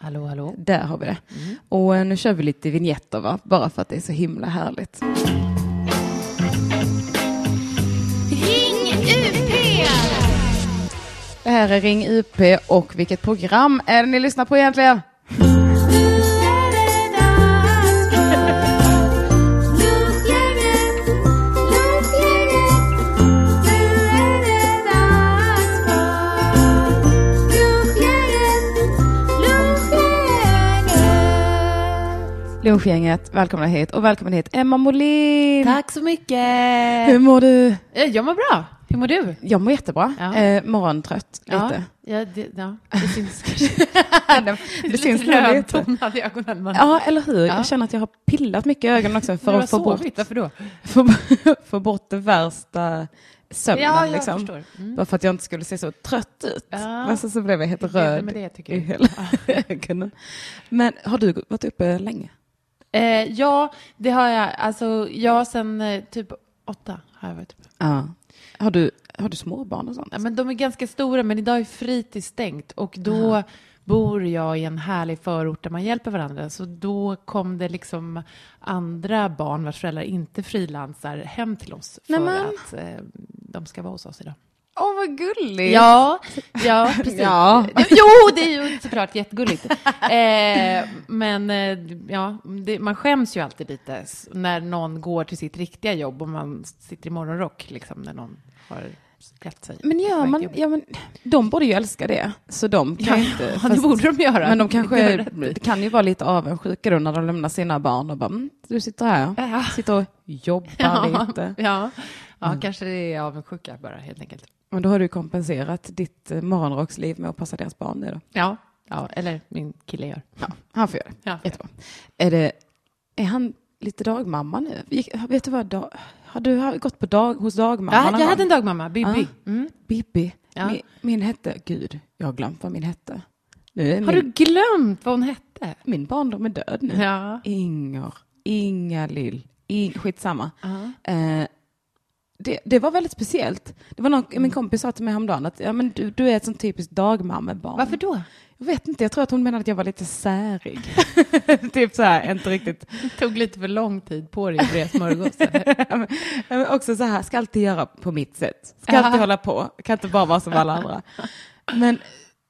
Hallå, hallå. Där har vi det. Och eh, nu kör vi lite vignetter va? bara för att det är så himla härligt. Ring UP! Det här är Ring UP och vilket program är det ni lyssnar på egentligen? Lunchgänget, välkomna hit och välkommen hit Emma Molin! Tack så mycket. Hur mår du? Eh, Jag mår bra. Hur mår du? Jag mår jättebra. Ja. Eh, morgontrött lite. Ja, ja, det, ja, det syns kanske. det syns nog lite. lite. Rödtonad i ögonen. Man. Ja, eller hur? Ja. Jag känner att jag har pillat mycket i ögonen också för Du har att få bort, sovit, Varför då? få, få bort det värsta sömnen. Ja, jag liksom. förstår. Mm. Bara för att jag inte skulle se så trött ut. Ja. Men sen så blev jag helt Det är det röd med det, tycker i jag. hela ögonen. Men har du varit uppe länge? Eh, ja, det har jag. Alltså, jag sen eh, typ åtta har jag varit uppe. Ja. Har du, har du småbarn och sånt? Ja, men de är ganska stora, men idag är fritids stängt och då bor jag i en härlig förort där man hjälper varandra. Så då kom det liksom andra barn vars föräldrar inte frilansar hem till oss för Nämen. att eh, de ska vara hos oss idag. Åh, vad gulligt! Ja, ja precis. Eh. Ja. Jo, det är ju såklart jättegulligt. Eh, men eh, ja, det, man skäms ju alltid lite s- när någon går till sitt riktiga jobb och man sitter i morgonrock, liksom, när någon har klätt sig. Men på gör väg man, till jobbet. ja, men de borde ju älska det, så de Ja, kan ju inte... ja, det fast- borde de göra. Men de kanske Det gör det. det kan ju vara lite avundsjuka då när de lämnar sina barn och bara, "Mm, du sitter här, Ja. sitter och jobbar Ja, lite. ja. ja kanske det är avundsjuka bara, helt enkelt. Men då har du kompenserat ditt eh, morgonrocksliv med att passa deras barn nu då. Ja, ja eller min kille gör. Ja. Han får göra det. Ja. Jättebra. Är, det, är han lite dagmamma nu? Gick, vet du vad, dag, har du har gått på dag, hos dagmamma någon jag gång? hade en dagmamma, Mm. Bibi. Ja. Bibi. Ja. Min, min hette, gud, jag har glömt vad min hette. Nu är Har min, du glömt vad hon hette? min barndom är död nu. Ja. Inger, Inga Lill, in, skitsamma. Eh, det, det var väldigt speciellt. Det var någon, Min kompis sa till mig häromdagen att ja, men du, du är ett sånt typiskt dagmammebarn. Varför då? Jag vet inte, jag tror att hon menade att jag var lite särig. typ så här, inte riktigt. Det tog lite för lång tid på dig att bli smörgåsen. Men också så här, ska alltid göra på mitt sätt. Ska Ja. alltid hålla på, kan inte bara vara som alla andra. Men,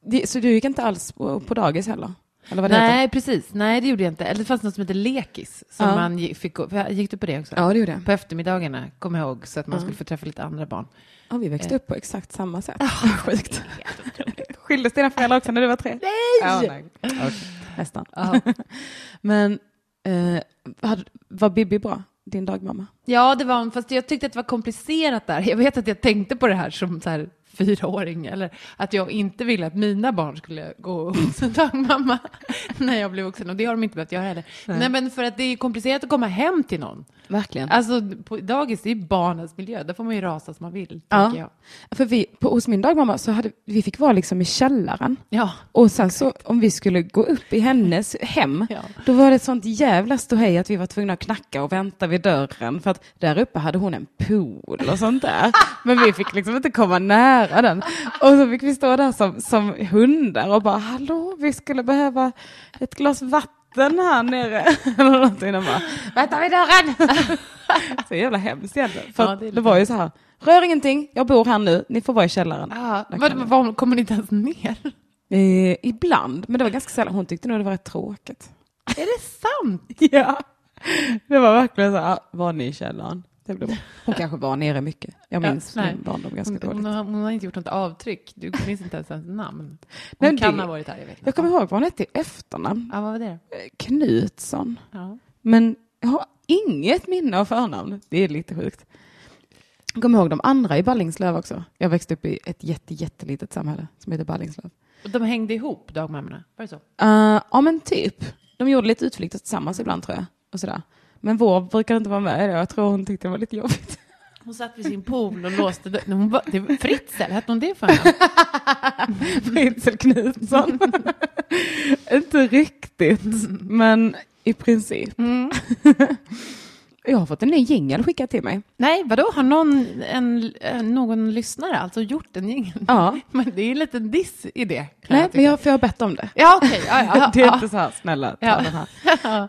det, så du gick inte alls på, på dagis heller? Eller vad det heter? Nej, precis. Nej, det gjorde jag inte. Eller det fanns något som hette lekis. Som Ja. man gi- fick, gå- för jag- gick du på det också? Ja, det gjorde jag. På eftermiddagarna, kom jag ihåg, så att man skulle få träffa lite andra barn. Ja, vi växte upp på exakt samma sätt. Sjukt. Skildes dina föräldrar också när du var tre? Nej! Ja, nej. Okej, Nästan. Ja. Men eh, hade, var Bibi bra, din dagmamma? Ja, det var hon, fast jag tyckte att det var komplicerat där. Jag vet att jag tänkte på det här som så här, fyraåring, eller att jag inte ville att mina barn skulle gå hos en dagmamma när jag blev vuxen, och det har de inte behövt göra heller. Nej. men för att det är komplicerat att komma hem till någon. Verkligen. Alltså, på dagis, det är ju barnens miljö, där får man ju rasa som man vill, Ja. tänker jag. För vi, på, hos min dagmamma så hade vi fick vara liksom i källaren. Ja. Och sen så om vi skulle gå upp i hennes hem, Ja. då var det ett sånt jävla ståhej att vi var tvungna att knacka och vänta vid dörren. För att där uppe hade hon en pool och sånt där. Men vi fick liksom inte komma nära den. Och så fick vi stå där som, som hundar och bara, hallå, vi skulle behöva ett glas vatten här nere. Eller någonting. Och bara, vänta vid dörren! så jävla hemskt egentligen. För Ja, att det är det, lite var ju så här, rör ingenting, jag bor här nu, ni får vara i källaren. Ja, Där vad, kan man- vad, kommer ni inte ens ner? Eh, ibland, men det var ganska sällan. Hon tyckte nog det var rätt tråkigt. Är det sant? Ja, det var verkligen så här, var ni i källaren? Det blev bra. Hon kanske var nere mycket. Jag Ja, minns nej. min barndom ganska Hon, hon, dåligt. har, hon har inte gjort något avtryck. Du minns inte ens hans namn. Hon Men kan det- ha varit här, jag vet inte. Jag kommer ihåg vad hon hette i efternamn. Ja, vad var det? Eh, Knutsson. Ja. Men jag har inget minne av förnamn. Det är lite sjukt. Jag kommer ihåg de andra i Ballingslöv också. Jag växte upp i ett jätte, jättelitet samhälle som heter Ballingslöv. Och de hängde ihop, dagmammorna? Var det så? Eh, ja men typ. De gjorde lite utflykter tillsammans ibland tror jag. Och sådär. Men vår brukade inte vara med i det. Jag tror hon tyckte det var lite jobbigt. Hon satt vid sin pool och låste dörren. Hon var, det var Fritzl, hette hon det för namn? Fritzl Knutsson. Mm. inte riktigt, men i princip. jag har fått en ny jingel skickad till mig. Nej, vadå? Har någon, en, en, någon lyssnare alltså gjort en jingel? Ja. Men det är ju en liten diss i det. kan Nej, jag tycka. men jag, för jag har bett om det. Ja, okej. Ja, ja, det är ja, inte så här, snälla ta Ja. den här.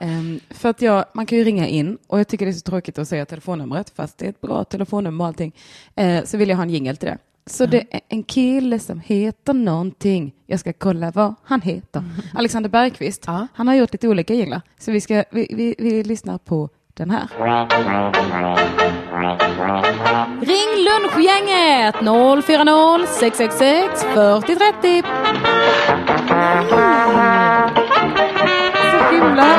Ehm, för att jag, man kan ju ringa in och jag tycker det är så tråkigt att säga telefonnumret fast det är ett bra telefonnummer och allting. Eh, så vill jag ha en jingel till det. Så det är en kille som heter någonting. Jag ska kolla vad han heter. Alexander Bergqvist. Ja. Han har gjort lite olika jinglar. Så vi, ska, vi, vi, vi lyssnar på den här. Ring lunchgänget 040 666 4030. Så himla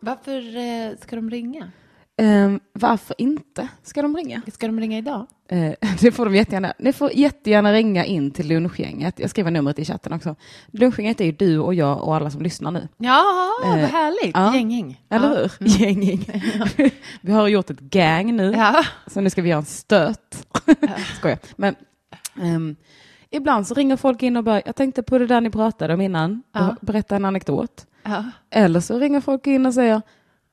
Varför eh, ska de ringa? Ehm, varför inte? Ska de ringa? Ska de ringa idag? Eh, det får de jättegärna. Ni får jättegärna ringa in till lunchgänget. Jag skriver numret i chatten också. Lunchgänget är ju du och jag och alla som lyssnar nu. Ja, vad Eh, härligt. ja. Gänging. Eller ja. mm. hur? Gänging. vi har gjort ett gang nu. Ja. Så nu ska vi göra en stöt. Skojar. Men ehm, ibland så ringer folk in och bara, jag tänkte på det där ni pratade om innan. Ja. Och berätta en anekdot. Ja. Eller så ringer folk in och säger,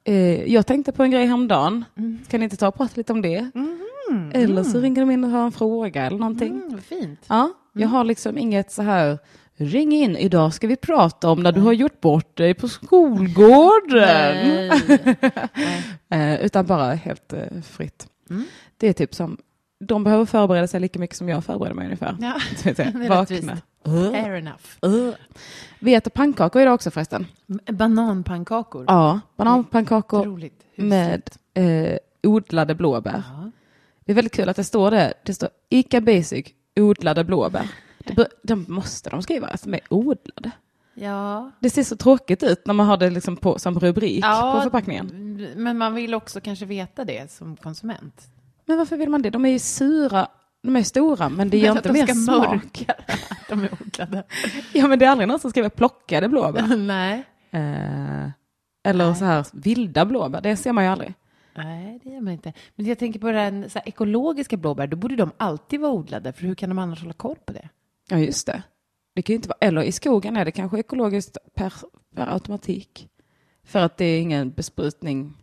eh, jag tänkte på en grej häromdagen. Mm. Kan ni inte ta och prata lite om det? Mhm. Eller så ringer de in och har en fråga eller någonting. Mm, vad fint. Ja, Mm. jag har liksom inget så här, ring in, idag ska vi prata om när du har gjort bort dig på skolgården. Eh, utan bara helt eh, fritt. Mm. Det är typ som, de behöver förbereda sig lika mycket som jag förbereder mig ungefär. Ja. Så att säga, Det är Vakna. Eh, rättvist. Fair enough. Uh. Vete och pannkakor idag också förresten. M- Bananpannkakor. Ja, bananpannkakor Mm. Otroligt. Hur- med eh, odlade blåbär. Ja. Det är väldigt kul att det står det. Det står Ica Basic, odlade blåbär. Det bör, de måste de skriva, alltså med odlade. Ja. Det ser så tråkigt ut när man har det liksom på, som rubrik Ja, på förpackningen. Men man vill också kanske veta det som konsument. Men varför vill man det? De är ju sura, de är stora, men det gör Men inte att de mer ska smak. mörka. De är odlade. Ja, men det är aldrig någon som skriver plockade blåbär. Nej. eh, eller så här vilda blåbär, det ser man ju aldrig. Nej, det gör man inte. Men jag tänker på den så här, ekologiska blåbär, då borde de alltid vara odlade, för hur kan de annars hålla koll på det? Ja, just det. Det kan ju inte vara, eller i skogen är det kanske ekologiskt per, per automatik. För att det är ingen besprutning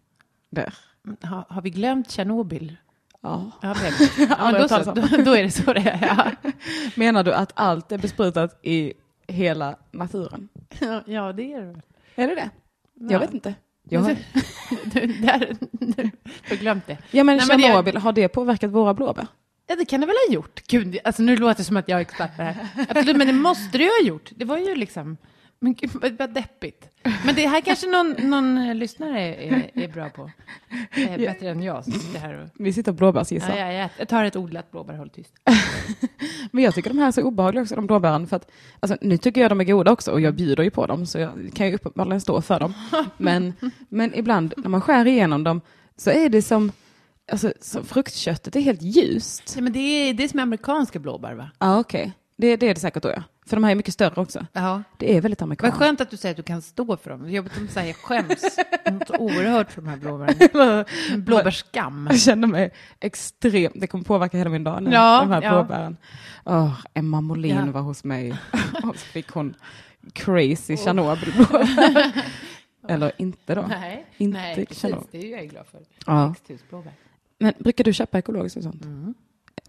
där. Mm, Ha, har vi glömt Tjernobyl? Ja. Ja, det har vi. ja, men då, så, då, då är det så det är. Menar du att allt är besprutat i hela naturen? Ja, ja det är det. Är det det? Ja. Jag vet inte. Jag har... Du, där, nu, du har glömt det. Ja men Nej, men det- Tjernobyl, har det påverkat våra blåbär? Ja, det kan det väl ha gjort. Gud, alltså nu låter det som att jag är expert på det här. Absolut, men det måste det ju ha gjort. Det var ju liksom... Men gud, vad, vad deppigt. Men det här kanske någon, någon eh, lyssnare är, är bra på. Eh, bättre än jag. så Det här och, Vi sitter och blåbärsgissar. ja, ja, ja, jag tar ett odlat blåbär, håll tyst. Men jag tycker de här är så obehagliga också, de blåbären. För att, alltså, nu tycker jag de är goda också och jag bjuder ju på dem så jag kan ju uppenbarligen stå för dem. Men, men ibland när man skär igenom dem så är det som, alltså, som fruktköttet är helt Nej, ljust. Alltså, men det är, det är som amerikanska blåbär, va? Ja okej, det, det är det säkert då ja. För de här är mycket större också. Ja. Det är väldigt Vad amerikanskt. skönt att du säger att du kan stå för dem. Jag, jag skäms något oerhört för de här blåbären. Blåbärsskam. Jag känner mig extremt, det kommer påverka hela min dag nu, Ja, de här ja. blåbären. Åh, Emma Molin Ja. var hos mig och så fick hon crazy Tjernobyl-blåbär. Eller inte då. Nej, Inte nej precis. Tjernobyl. Det är ju jag glad för. Ja. Mm. Växthusblåbär. Men brukar du köpa ekologiskt och sånt?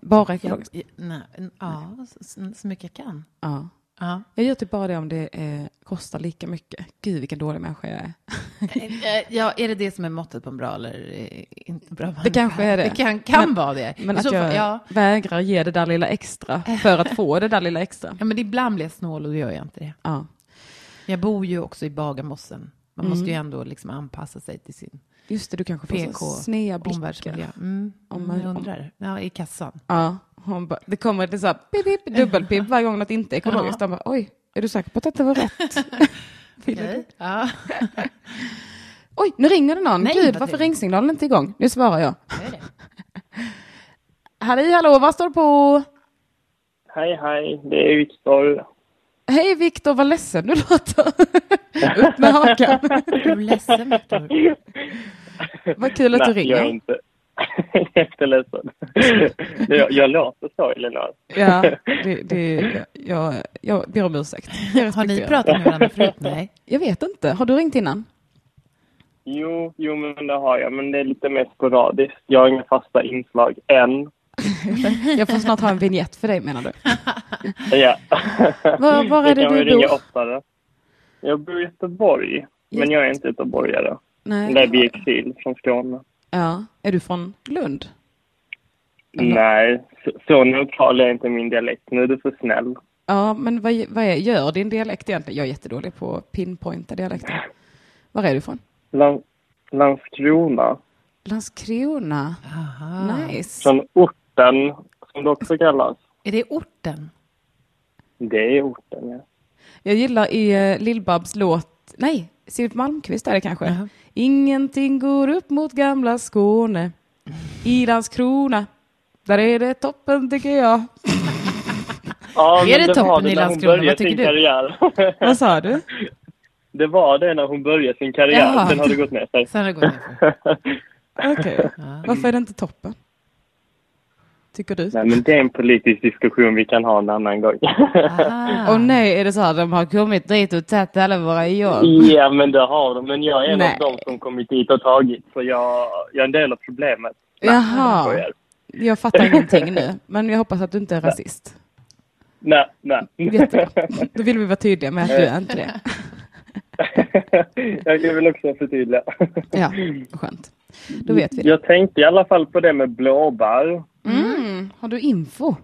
Bara Ja, ekologiskt? i- nej, n- ja så, så mycket jag kan. Ja. Ja. Jag gör typ bara det om det eh, kostar lika mycket. Gud vilken dålig människa jag är. Eh, ja, är det det som är måttet på en bra eller eh, inte bra människa? Det kanske är det. Det kan, kan Men- vara det. Men I att så fall- jag ja. vägrar ge det där lilla extra för att få det där lilla extra. ja, men ibland blir jag snål och då gör jag inte det. Ja, Jag bor ju också i Bagarmossen. Man måste Mm. ju ändå liksom anpassa sig till sin just det, du kanske får PK så sneda blickar. omvärldsmiljö. Mm, Om om man- man undrar. Ja, i kassan. Ja, hon bara, det kommer lite så här pip, pip, dubbelpip varje gång något inte är ekologiskt. De bara, oj, är du säker på att detta var rätt? Vill du- Okej. Ja. Oj, nu ringer det någon. Nej, Gud, vad varför trevligt. ringsignalen inte igång? Nu svarar jag. det är det. Hallå, hallå, vad står det på? Hej, hej. Det är Viktor. Hej Viktor, vad ledsen du låter. Upp med hakan. Är du ledsen, Viktor? Vad kul att du Nej, jag är ringer. inte jätteledsen. jag, jag låter så, Elina. Ja, det, det, jag, jag ber om ursäkt. Jag Har ni respekterar. pratat med varandra förut? Nej. Jag vet inte, har du ringt innan? Jo, jo, men det har jag. Men det är lite mer sporadiskt. Jag har inga fasta inslag än. Jag får snart ha en vignett för dig menar du? Ja. Var, var är Jag det kan väl du ringa bor? oftare. Jag bor i Göteborg, men jag är inte göteborgare. Nej. Nej, vi är exil från Skåne. Ja. Är du från Lund? Nej, så, så neutral är inte min dialekt. Nu är du för snäll. Ja, men vad, vad är, gör din dialekt egentligen? Jag är jättedålig på att pinpointa dialekter. Var är du från? Lan- Landskrona, Landskrona. Ah. Aha. Nice. från orten, som det också kallas. Är det orten? Det är orten, ja. Jag gillar i eh, Lill-Babs låt, nej, Siewert Malmkvist är det kanske. Jaha. Ingenting går upp mot gamla Skåne. I Landskrona, där är det toppen tycker jag. ja Är men det var toppen det i när hon Landskrona? började Vad tycker sin du? Karriär. Vad sa du? det var det när hon började sin karriär. Jaha. Sen har det gått ner sig. Sen har det gått nerför. Okej, varför är det inte toppen? Tycker du? Nej, men det är en politisk diskussion vi kan ha en annan gång. Åh Aha. nej, är det så här de har kommit dit och tagit alla våra jobb? ja, men det har de. Men jag är en Nej. av dem som kommit hit och tagit. Så jag, jag är en del av problemet. Jaha. Jag skojar. Jag fattar ingenting nu, men jag hoppas att du inte är rasist. Nej, nej. Jättebra. Då vill vi vara tydliga med att du är inte det. jag vill också förtydliga. Ja, skönt. Då vet vi det. Jag tänkte i alla fall på det med blåbär. Mm. Har du info?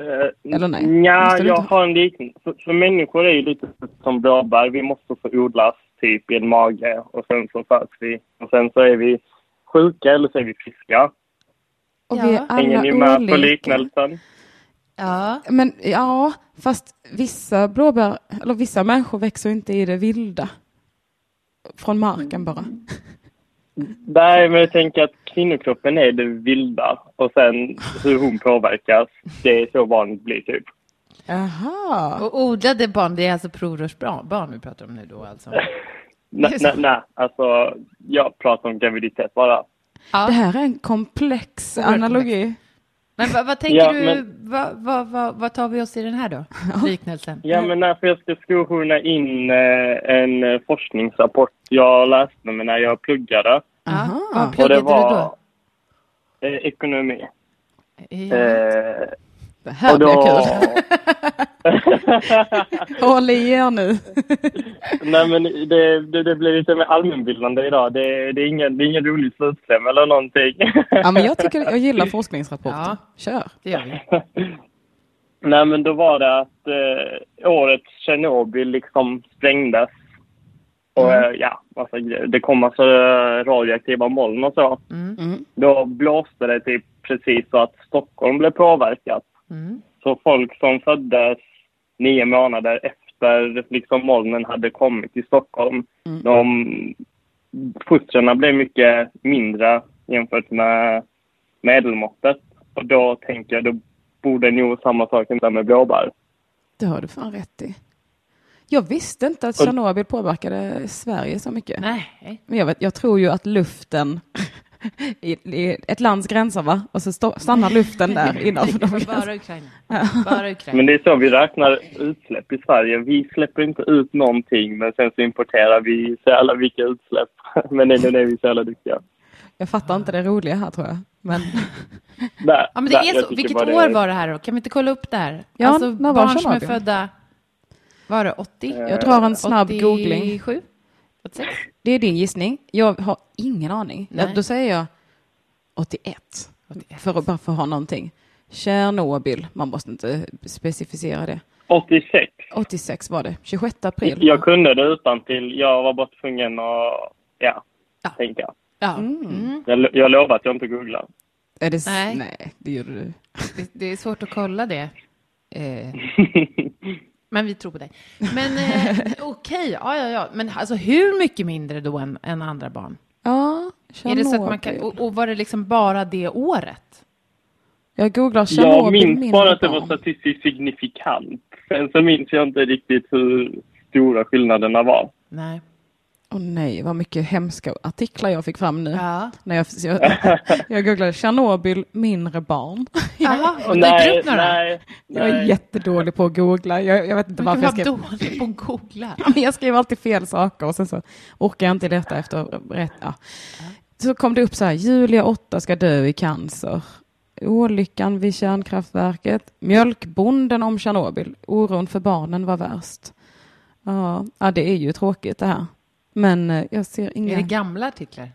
Eh, Eller nej, Nja, måste du jag inte har en liknelse. För, för människor är ju lite som blåbär. Vi måste få odlas typ i en mage och sen så föds vi. Och sen så är vi sjuka eller så är vi friska. Och Ja. vi är alla Hänger ni med på olika. liknelsen? Ja. Men ja, fast vissa blåbär, eller vissa människor växer ju inte i det vilda. Från marken bara. Nej, men jag tänker att kvinnokroppen är det vilda och sen hur hon påverkas, det är så barnet blir typ. Jaha. Och odlade barn, det är alltså provrörsbarn barn vi pratar om nu då alltså? Nej, Just det. nej, nej, alltså jag pratar om graviditet bara. Det Ja. här är en komplex Oerhört analogi. Men vad, vad tänker Ja, du, men- vad, vad, vad, vad tar vi oss i den här då? Liknelsen. Ja, men nej, för jag ska skohorna in eh, en eh, forskningsrapport jag läste mig när jag pluggade. Ja. Aha. Vad pluggade du då? eh, ekonomi. Ja. Eh, Det här och blir då... kul. Håll i er nu. Nej, men det, det, det blir lite mer allmänbildande idag. Det, det, är, ingen, det är ingen rolig slutkläm eller någonting. Ja, men jag, tycker, jag gillar forskningsrapporter. Ja. Kör. Det gör vi. Nej, men då var det att eh, årets Tjernobyl liksom sprängdes. Och eh, ja, alltså, det kom massa eh, radioaktiva moln och så. Mm. Då blåste det typ precis så att Stockholm blev påverkat. Mm. Så folk som föddes nio månader efter liksom molnen hade kommit till Stockholm, Mm. de fostrarna blev mycket mindre jämfört med medelmåttet. Och då tänker jag, då borde nog samma sak hända med blåbär. Det har du fan rätt i. Jag visste inte att Tjernobyl påverkade Sverige så mycket. Nej. Men jag, vet, jag tror ju att luften i, i ett lands gränser va? Och så stå, stannar luften där innanför de gränserna. Bara Ukraina. Bara Ukraina. Men det är så vi räknar utsläpp i Sverige. Vi släpper inte ut någonting, men sen så importerar vi så jävla vilka utsläpp. Men det är det vi är så jävla duktiga. Jag fattar inte det roliga här tror jag. Men Nej, Ja, men det nej, är jag så. tycker Vilket bara det år är- var det här då? Kan vi inte kolla upp det här? Ja, alltså när var barn som är Tjernobyl? födda, var det Eh, 80? jag drar en snabb googling. 87? 86? Det är din gissning. Jag har ingen aning. Nej. Ja, Då säger jag 81. 81. För att bara få ha någonting. Tjernobyl. Man måste inte specificera det. 86. 86 var det. 26 april. Jag kunde det utan till. Jag var bara tvungen att ja, Ja. tänka. Ja, mm. Jag, jag lovar att jag inte googlar. Är det s- Nej. Nej, det gjorde du. Det, det är svårt att kolla det. Eh, men vi tror på dig. Men eh, okej, ja, ja, ja. Men alltså hur mycket mindre då än, än andra barn? Ja, Är Tjernobyl. det så att man kan, och, och var det liksom bara det året? Jag googlar Tjernobyl. Jag minns mindre bara att det var barn. statistiskt signifikant. Sen så minns jag inte riktigt hur stora skillnaderna var. Nej. Åh nej, vad mycket hemska artiklar jag fick fram nu. Ja. När jag, jag, jag googlade Tjernobyl, mindre barn. Jaha, Och och dyker upp några? nej, Jag är nej. jättedålig på att googla. Jag, jag vet inte Du varför kan jag vara skrev... dålig på att googla. Men jag skriver alltid fel saker och sen så orkar jag inte leta efter rätt. Ja. Så kom det upp så här, Julia 8 ska dö i cancer. Olyckan vid kärnkraftverket. Mjölkbonden om Tjernobyl. Oron för barnen var värst. Ja, ja det är ju tråkigt det här. Men eh, jag ser Är det inga... gamla artiklar?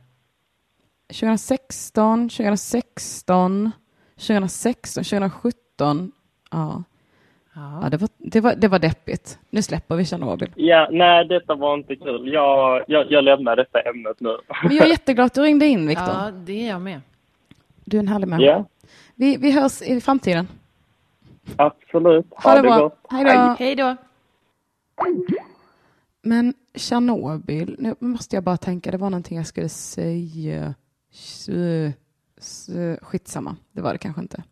2016, 2016, 2016, 2017. Ja, Ja. ja det, var, det, var, det var deppigt. Nu släpper vi Tjernobyl. Ja, nej, detta var inte kul. Jag, jag, jag lämnar detta ämnet nu. Men jag är jätteglad att du ringde in Viktor. ja, det är jag med. Du är en härlig människa. Ja, Vi, vi hörs i framtiden. absolut. Ha, det bra. gott. Hej då. Hej då. Men Tjernobyl, nu måste jag bara tänka, det var någonting jag skulle säga. Sö- sö- Skitsamma, det var det kanske inte.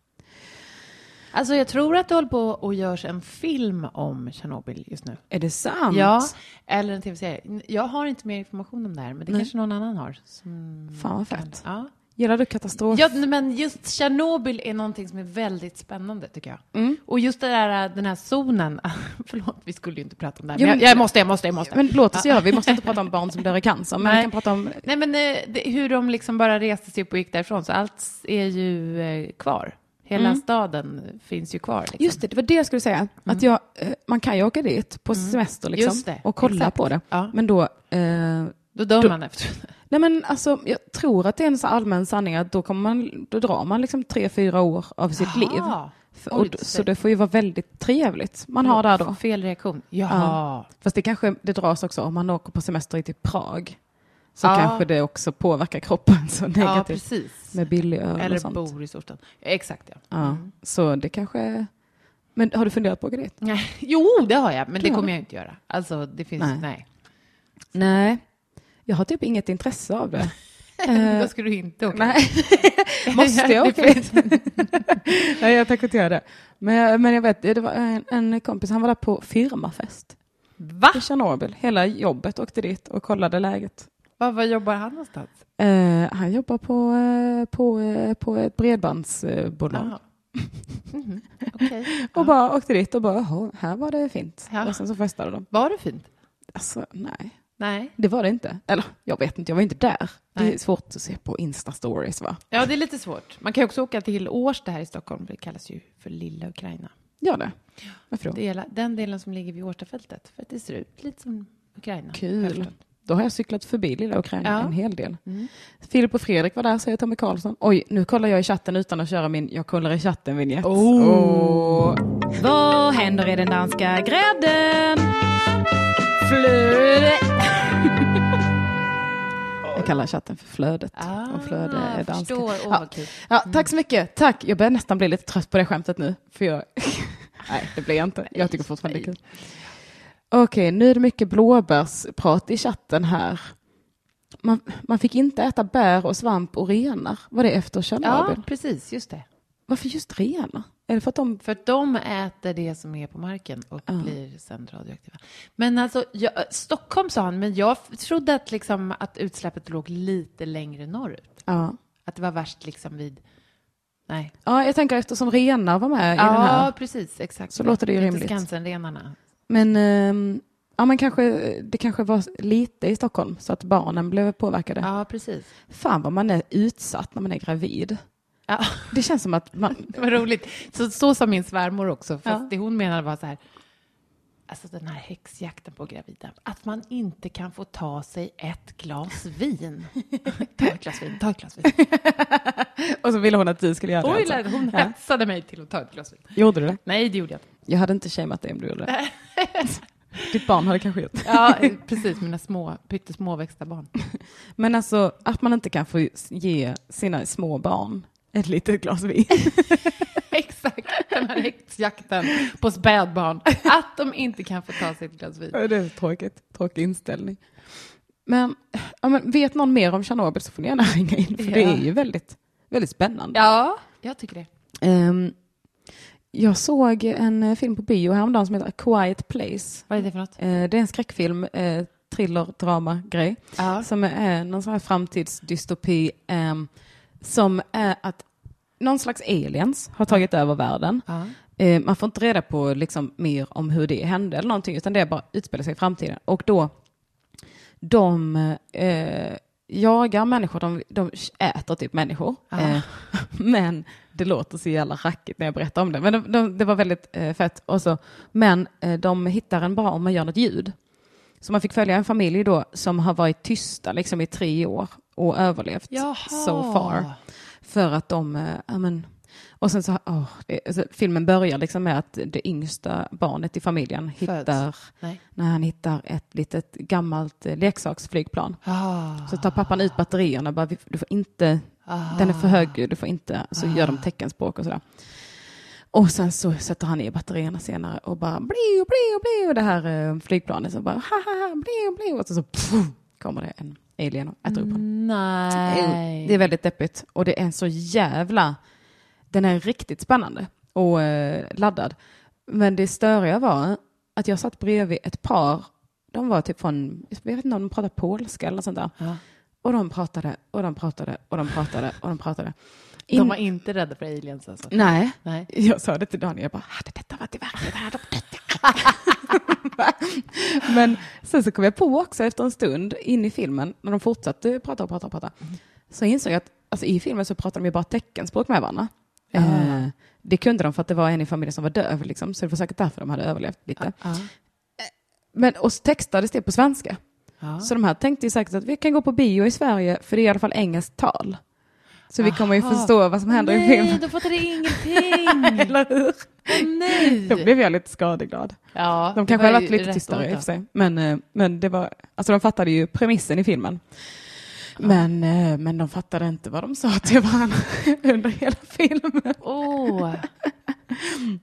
Alltså jag tror att det håller på och görs en film om Tjernobyl just nu. Är det sant? Ja, eller en tv-serie. Jag har inte mer information om det här, men det kanske någon annan har. Som... Fan vad fett. Ja. Mm. Gillar du katastrof? Ja, men just Tjernobyl är någonting som är väldigt spännande tycker jag. Mm. Och just det där, äh, den här zonen, förlåt vi skulle ju inte prata om det här, Jo, men jag, men- jag måste, jag måste, jag måste. Men låt oss göra, vi måste inte prata om barn som dör i cancer, men vi Nej. kan prata om... Nej men eh, det, hur de liksom bara reste sig upp och gick därifrån, så allt är ju eh, kvar. Hela staden finns ju kvar. Liksom. Mm. Just det, det var det jag skulle säga. Att jag, eh, man kan ju åka dit på semester liksom, Just det, och kolla exakt. på det. Ja. Men då eh, Då dör Då- man efteråt. Nej men alltså, jag tror att det är en så allmän sanning att då, kommer man, då drar man liksom tre, fyra år av sitt Jaha. liv. För, och, Oj, d- så- så det får ju vara väldigt trevligt man har där då. Fel reaktion. Ja. Ja. Fast det kanske det dras också om man åker på semester till Prag. Så Ja. kanske det också påverkar kroppen så Ja, negativt. precis. med billig öl och Eller sånt. bor i storstaden. Exakt, ja. Ja. Så det kanske... Men har du funderat på att åka dit? Nej. Jo, det har jag, men det har kommer jag inte göra. Alltså, det finns... Nej. Nej. Nej. Jag har typ inget intresse av det. Eh, Då ska du inte åka. Nej, måste jag Det åka dit? finns- Nej, jag tänker inte göra det. Men jag, men jag vet, det var en, en kompis, han var där på firmafest Va? i Tjernobyl. Hela jobbet åkte dit och kollade läget. Vad vad jobbar han någonstans? Eh, han jobbar på, eh, på, eh, på ett bredbandsbolag Jaha. Mhm, Okej. och bara åkte dit och bara, "Jaha, här var det fint. Ja. Och sen så festade de. Var det fint? Alltså, nej. Nej. Det var det inte. Eller, jag vet inte, jag var inte där. Det är Nej. svårt att se på Insta-stories, va? Ja, det är lite svårt. Man kan ju också åka till Årsta här i Stockholm. Det kallas ju för Lilla Ukraina. Gör det. Varför då? Det är hela- den delen som ligger vid Årstafältet. För att det ser ut lite som Ukraina. Kul. Efteråt. Då har jag cyklat förbi lilla Ukraina Ja. Mm. en hel del. Filip och Fredrik var där, säger Tommy Karlsson. Oj, nu kollar jag i chatten utan att köra min jag kollar i chatten vignett. Oh. Vad händer i den danska grädden? Jag kallar chatten för flödet. Ah, och flöde är danska. förstår. Åh, ja. vad kul. Ja, tack så mycket. Tack. Jag börjar nästan bli lite trött på det skämtet nu. För jag... Nej, det blir jag inte. Jag tycker fortfarande det är kul. Okej, nu är det mycket blåbärsprat i chatten här. Man, man fick inte äta bär och svamp och renar. Var det efter Tjernobyl? Ja, precis. Just det. Varför just renar? Är det för att de... För att de äter det som är på marken och blir sen radioaktiva. Men alltså, jag, Stockholm sa han, men jag f- trodde att, liksom, att utsläppet låg lite längre norrut. Ja. Att det var värst liksom vid... Nej. ja, jag tänker eftersom renar var med i den Ja, här. precis. Exakt. Så låter det ju Inte rimligt. Skansenrenarna. Men, ehm, ja, men kanske, det kanske var lite i Stockholm så att barnen blev påverkade. Ja, precis. Fan vad man är utsatt när man är gravid. Ja, Det känns som att man... vad roligt. Så, så sa min svärmor också, fast Ja. det hon menade var så här, alltså den här häxjakten på gravida, att man inte kan få ta sig ett glas vin. ta ett glas vin, ta ett glas vin. Och så ville hon att du skulle göra Oj, det. alltså. lärde- hon Ja. hetsade mig till att ta ett glas vin. Gjorde du det? Nej, det gjorde jag inte. Jag hade inte shameat dig om du gjorde det. Ditt barn hade kanske gjort det. Ja, eh, precis, mina små, pyttesmå växta barn. Men alltså att man inte kan få ge sina små barn ett litet glas vin. Exakt, den här häxjakten på spädbarn. Att de inte kan få ta sig ett glas vin. Det är tråkigt. Tråkig inställning. Men, ja, men vet någon mer om Tjernobyl så får ni gärna ringa in för det Ja. är ju väldigt, väldigt spännande. Ja, jag tycker det. Ehm, jag såg en eh, film på bio häromdagen som heter A Quiet Place. Vad är det för något? Eh, Det är en skräckfilm eh, thriller-drama-grej. Ja. Som är eh, någon sån här framtidsdystopi ehm, som är att någon slags aliens har tagit över världen. Ja. Eh, man får inte reda på liksom, mer om hur det hände eller någonting utan det bara utspelar sig i framtiden. Och då de eh, jagar människor, de, de äter typ människor. Eh, men det låter så jävla rackigt när jag berättar om det. Men de, de, det var väldigt eh, fett. Och så, men eh, de hittar en bara om man gör något ljud. Så man fick följa en familj då som har varit tysta liksom, i tre år och överlevt Jaha. so far. För att de, eh, ja men, och sen så, åh, det, alltså, filmen börjar liksom med att det yngsta barnet i familjen hittar, Nej. när han hittar ett litet gammalt eh, leksaksflygplan. Ah. Så tar pappan ut batterierna och bara, "Vi- du får inte, den är för hög, du får inte, så gör Ah. de teckenspråk och sådär. Och sen så sätter han i batterierna senare och bara bliu, bliu, bliu, det här eh, flygplanet så bara haha, bliu, bliu, och så, så pff, kommer det en alien och äter upp honom. Nej. Det är väldigt deppigt och det är en så jävla... Den är riktigt spännande och eh, laddad. Men det störiga var att jag satt bredvid ett par. De var typ från, jag vet inte om de pratade polska eller något sånt där. Ja. Och de pratade och de pratade och de pratade och de pratade. De In- var inte rädda för aliens alltså? Nej, Nej. jag sa det till Daniel, jag bara, hade detta varit i verkligheten hade de dött. Men sen så kom jag på också efter en stund in i filmen, när de fortsatte prata och prata och prata, Mm. så insåg jag att alltså, i filmen så pratade de ju bara teckenspråk med varandra. Eh, det kunde de för att det var en i familjen som var döv, liksom, så det var säkert därför de hade överlevt lite. Ja. Men, och så textades det på svenska. Ja. Så de här tänkte ju säkert att vi kan gå på bio i Sverige, för det är i alla fall engelskt tal. Så vi kommer ju Aha. förstå vad som händer i Nej, filmen. då fattade jag ingenting. Eller hur? Då Nej. blev jag lite skadeglad. Ja, De det kanske var hade ju varit lite rätt år tystare i och då. för sig. Men, eh, men det var, alltså de fattade ju premissen i filmen. Men, eh, men de fattade inte vad de sa till varandra under hela filmen. Åh.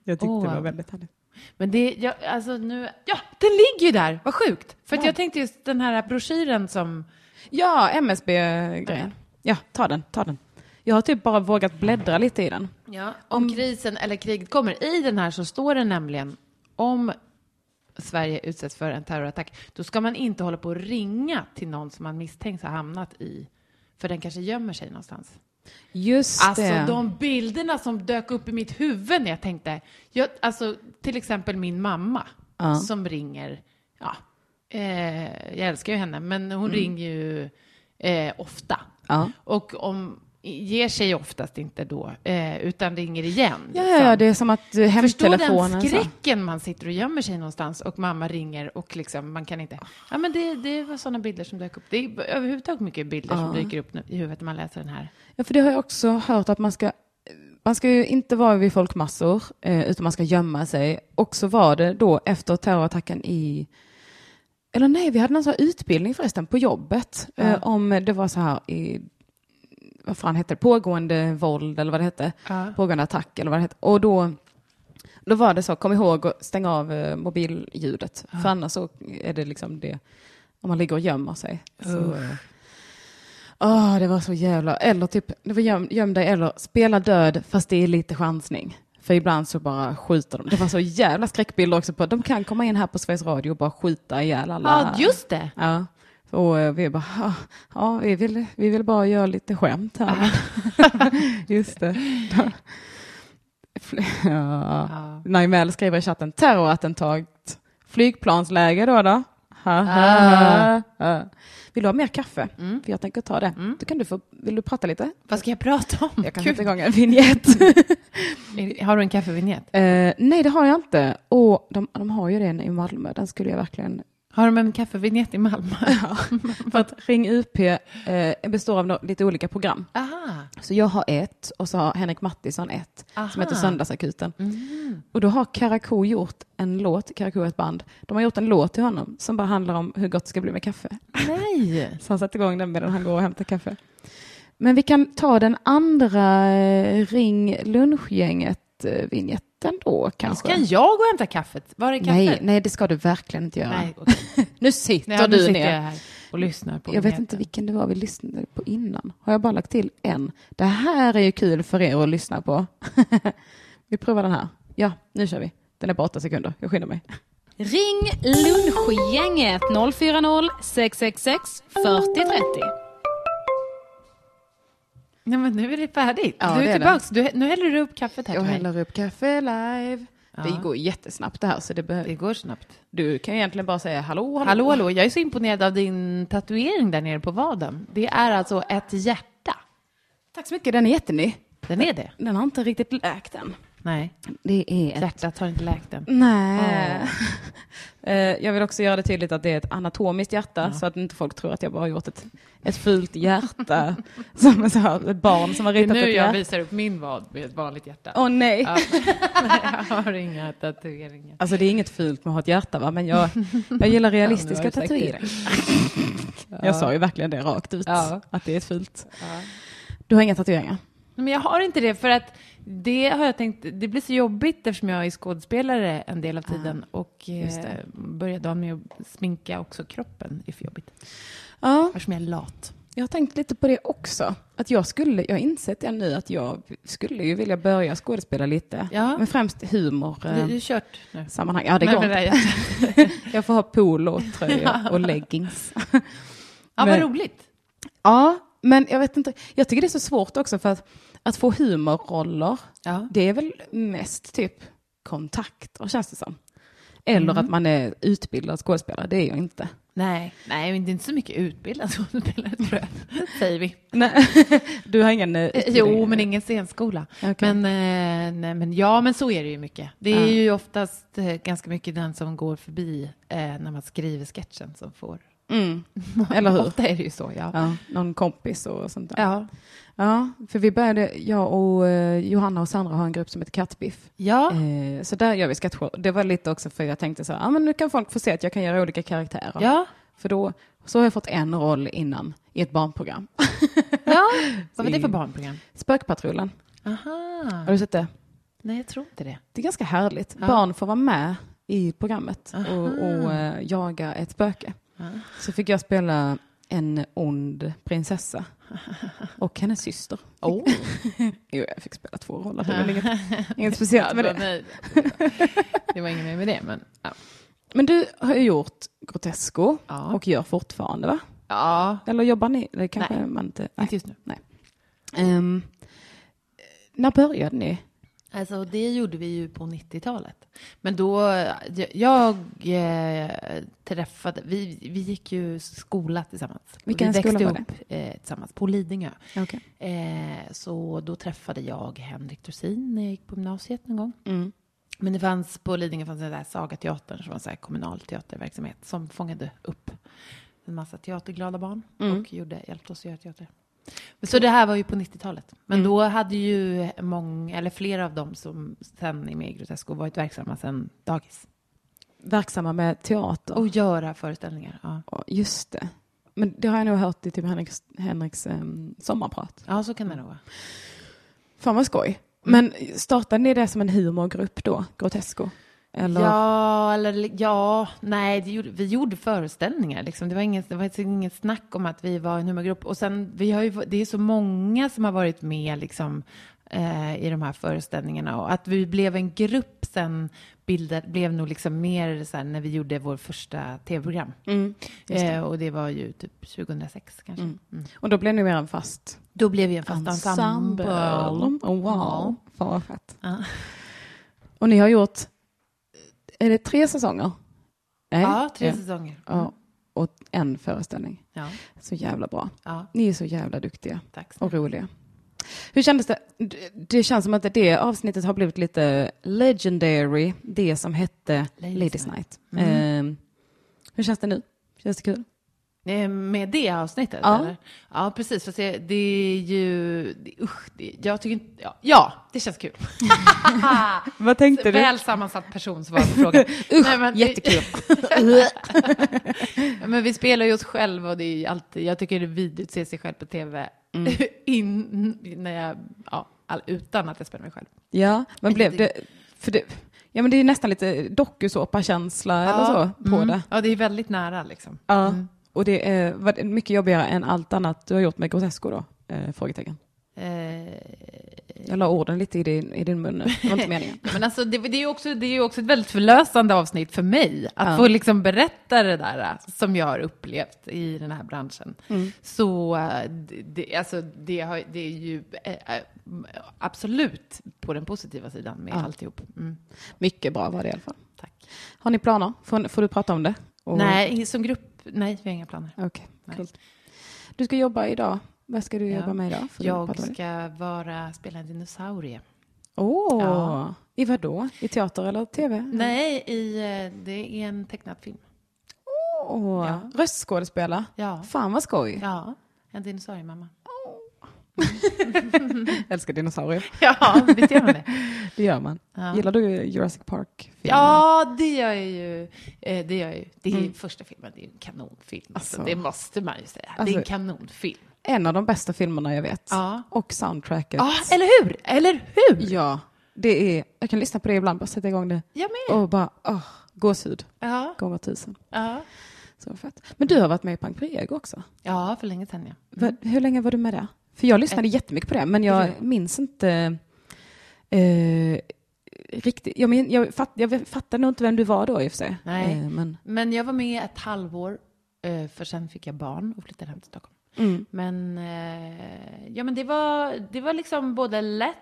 Jag tyckte det Åh. var väldigt härligt. Men det, jag, alltså nu, ja, den ligger ju där, vad sjukt. För att jag tänkte just den här broschyren som, Ja, MSB-grejen. Ja, ta den, ta den. Jag har typ bara vågat bläddra lite i den. ja, om krisen eller kriget kommer, i den här så står det nämligen om Sverige utsätts för en terrorattack, då ska man inte hålla på och ringa till någon som man misstänks ha hamnat i, för den kanske gömmer sig någonstans. Just Alltså det. de bilderna som dök upp i mitt huvud när jag tänkte, jag, alltså till exempel min mamma Ja. som ringer, ja, eh, jag älskar ju henne, men hon ringer ju eh, ofta. Mm. Ja. Och om, ger sig oftast inte då, eh, utan ringer igen. Ja, ja, liksom. ja, det är som att eh, Förstå den hemtelefonen... så. skräcken man sitter och gömmer sig någonstans och mamma ringer och liksom, man kan inte... Ja, men det, det var sådana bilder som dök upp. Det är överhuvudtaget mycket bilder som dyker upp nu, i huvudet när man läser den här. Ja, för det har jag också hört att man ska, man ska ju inte vara vid folkmassor, eh, utan man ska gömma sig. Och så var det då efter terrorattacken i, eller nej, vi hade någon sån här utbildning förresten på jobbet, eh, om det var så här i, vad fan hette det, pågående våld eller vad det hette, Ja. pågående attack eller vad det hette. Och då, då var det så, kom ihåg att stänga av eh, mobilljudet, för annars så är det liksom det, om man ligger och gömmer sig. Så, eh, Åh, Ah, det var så jävla... Eller typ, det var göm, göm dig eller spela död fast det är lite chansning. För ibland så bara skjuter de. Det var så jävla skräckbilder också på de kan komma in här på Sveriges Radio och bara skjuta ihjäl alla. Ja, just det! Ja. Och eh, vi bara, "Ja, ja, vi vill, vi vill bara göra lite skämt här. just det. Ja. Ja. Naimel skriver i chatten, terrorattentat, flygplansläge då då. Ha, ha, Ah. Mm. ha. Vill du ha mer kaffe? För jag tänker ta det. Då kan du få, vill du prata lite? Vad ska jag prata om? Jag kan Gud. sätta igång en vignett. Är- Har du en kaffevinjett? Eh, nej, det har jag inte. Och de, de har ju den i Malmö. Den skulle jag verkligen... Har de en kaffevinjett i Malmö? För att Ring UP eh, består av no- lite olika program. Aha. Så jag har ett och så har Henrik Mattisson ett som Aha. Mm. heter Söndagsakuten. Och då har Karakou gjort en låt, Karakou är ett band, de har gjort en låt till honom som bara handlar om hur gott det ska bli med kaffe. Nej. Så han satte igång den medan han går och hämtar kaffe. Men vi kan ta den andra eh, Ring lunchgänget-vinjetten då kanske. Ska jag gå och hämta kaffet? Var är kaffet? nej, nej, det ska du verkligen inte göra. Nej, okej. Nu sitter nej nu du sitter ner. jag här och lyssnar på Jag vet vinjetten. inte vilken det var vi lyssnade på innan. Har jag bara lagt till en? Det här är ju kul för er att lyssna på. vi provar den här. Ja, nu kör vi. Den är på åtta sekunder. Jag skyndar mig. Ring lunchgänget 040 666 4030. Nej, men nu är det färdigt. Ja, du det är är tillbaks. Du, nu häller du upp kaffet här Jag till mig. häller upp kaffe live. Ja. Det går jättesnabbt det här så det Det behöver... går snabbt. Du kan egentligen bara säga hallå, hallå. Hallå, hallå. Jag är så imponerad av din tatuering där nere på vaden. Det är alltså ett hjärta. Tack så mycket, den är jätteny. Den är det? Den har inte riktigt läkt än. Nej. Det är ett... Hjärtat har inte läkt än. Nej. Eh, Jag vill också göra det tydligt att det är ett anatomiskt hjärta så att inte folk tror att jag bara har gjort ett, ett fult hjärta. som är så här, ett barn som har Det är ritat nu ett jag hjärta. visar upp min vad med ett vanligt hjärta. Åh nej. Ja. Nej, jag har inga tatueringar. Alltså det är inget fult med att ha ett hjärta va, men jag, jag gillar realistiska Ja, nu har du sagt tatueringar. Jag sa ju verkligen det rakt ut, Ja. att det är ett fult. Du har inga tatueringar? Nej, Men jag har inte det för att det har jag tänkt, det blir så jobbigt eftersom jag är skådespelare en del av tiden och just eh, det. börjar dagen med att sminka också kroppen. Det är för jobbigt. Ja, Eftersom jag är lat. jag har tänkt lite på det också. Att jag skulle, jag har insett det nu att jag skulle ju vilja börja skådespela lite. Ja. Men främst humor. Det eh, är ju kört nu. sammanhang. Ja, det går Men- inte. men- Jag får ha polotröjor och leggings. Ja, vad Men- roligt. Ja, men jag vet inte. Jag tycker det är så svårt också för att, att få humorroller, Ja. det är väl mest typ kontakter känns det som. Eller Mm. att man är utbildad skådespelare, det är jag inte. Nej, nej, men det är inte så mycket utbildad skådespelare tror jag, säger vi. Nej. Du har ingen eh, Eh, utbildning? Jo, men ingen scenskola. Okej. Men, eh, nej, men ja, men så är det ju mycket. Det är Ja. ju oftast eh, ganska mycket den som går förbi eh, när man skriver sketchen som får. Mm. Eller hur? Ofta är det ju så, ja. ja. Ja, någon kompis och sånt där. Ja, för vi började, jag och eh, Johanna och Sandra har en grupp som heter Kattbiff. Ja. Eh, Så där gör vi sketcher. Det var lite också för jag tänkte så här, ah, men nu kan folk få se att jag kan göra olika karaktärer. Ja. För då, så har jag fått en roll innan i ett barnprogram. ja. Vad var det för barnprogram? Spökpatrullen, Aha. har du sett det? Nej, jag tror inte det. Det är ganska härligt. Barn får vara med i programmet och, och eh, jaga ett spöke. Så fick jag spela en ond prinsessa och hennes syster. Oh. Jo, jag fick spela två roller, det är väl inget, inget speciellt med det. nej. Det var ingen mer med det, men ja. Men du har ju gjort Grotesco Ja. och gör fortfarande va? ja. Eller jobbar ni? Det kanske Nej. man inte... Inte just nu. Ehm, när började ni? Alltså det gjorde vi ju på 90-talet. Men då, jag, jag eh, träffade, vi, vi gick ju skola tillsammans. Vilken vi skola var upp eh, tillsammans på Lidingö. Okej. Eh, så då träffade jag Henrik Dorsin när jag gick på gymnasiet någon gång. Mm. Men det fanns på Lidingö fanns det där Sagateatern som var så här kommunal teaterverksamhet som fångade upp en massa teaterglada barn och gjorde, hjälpte oss att göra teater. Så det här var ju på 90-talet. Men då hade ju många, eller flera av dem som sen är med i Grotesco varit verksamma sen dagis. Verksamma med teater? Och göra föreställningar. Ja, Ja, Just det. Men det har jag nog hört i typ Henriks, Henriks ehm, sommarprat. ja så kan det nog vara. Fan vad skoj. Men startade ni det som en humorgrupp då, Grotesco? Eller? Ja, eller ja, nej, det gjorde, vi gjorde föreställningar. Liksom. Det var inget, det var alltså inget snack om att vi var en humorgrupp. Och sen, vi har ju, det är så många som har varit med liksom, eh, i de här föreställningarna. Och att vi blev en grupp sen bildad, blev nog liksom mer så här, när vi gjorde vår första tv-program. Mm. eh, och det var ju typ 2006 kanske. Mm. Och då blev ni mer en fast Då blev vi en fast ensemble. Oh, wow, Ja. fan vad fett. Ja. Och ni har gjort, är det tre säsonger? Nej? Ja, tre säsonger. Ja, och en föreställning. Ja, Så jävla bra. ja, Ni är så jävla duktiga. tack. och roliga. Hur kändes det? D- Det känns som att det avsnittet har blivit lite legendary, det som hette Ladies' Ladies, Night. Ehm, hur känns det nu? Känns det kul? Eh, Med det avsnittet? Ja. Eller? ja precis. Fast det, det är ju... Det, usch, det, jag tycker inte... Ja, ja, det känns kul. Vad tänkte Väl sammansatt person svarar på frågan. usch, Nej, men, Jättekul. Men vi spelar ju oss själva och det är ju alltid... Jag tycker det är vidrigt att se sig själv på tv. Mm. In, när jag, ja, all, utan att jag spelar mig själv. ja, men blev det... För det ja, men det är nästan lite dokusåpakänsla eller så på det. Ja, det är väldigt nära liksom. Ja. Och det är var det mycket jobbigare än allt annat du har gjort med Grotesco då? Eh, frågetecken. Eh, Jag la orden lite i din, i din mun nu. Det var inte meningen. Men alltså, det, det är ju också, det är ju också ett väldigt förlösande avsnitt för mig. Att få liksom berätta det där eh, som jag har upplevt i den här branschen. Så eh, det- det, alltså, det, har, det är ju eh, eh, absolut på den positiva sidan med alltihop. Mm, Mycket bra var det i alla fall. tack. Har ni planer? Får, får du prata om det? Och- Nej, som grupp, nej, vi har inga planer. Okej, Nej. coolt. Du ska jobba idag. Vad ska du jobba med idag? Får du prata Jag om det? ska vara, spela en dinosaurie. Åh! Ja. Mm. I vad då? I teater eller tv? Nej, i, eh, det är en tecknad film. Åh, Ja. Röstskådespela? Ja. Fan vad skoj. Ja, en dinosauriemamma. Jag älskar dinosaurier. Ja, visst gör man det? Det gör man. Ja. Gillar du Jurassic Park? Ja, det gör jag ju. Eh, Det, gör jag ju. det är ju första filmen, det är ju en kanonfilm. Alltså, Alltså. det måste man ju säga. det Alltså. är en kanonfilm. En av de bästa filmerna jag vet. Ja. Och soundtracket. Ja, eller hur? Eller hur? Ja, det är, jag kan lyssna på det ibland, bara sätta igång det. Jag med. Och bara, åh, gåshud. Ja, Gånger tusen. ja. Så fett. Men du har varit med i Pank Prego också. ja för länge sedan ja. Vad- Hur länge var du med där? För jag lyssnade jättemycket på det, men jag minns inte eh, riktigt. Jag, men, jag, fatt, jag fattade nog inte vem du var då i och för sig. Nej. Eh, men, Men jag var med ett halvår, eh, för sen fick jag barn och flyttade hem till Stockholm. Mm. Men, eh, ja, men det, var, det var liksom både lätt,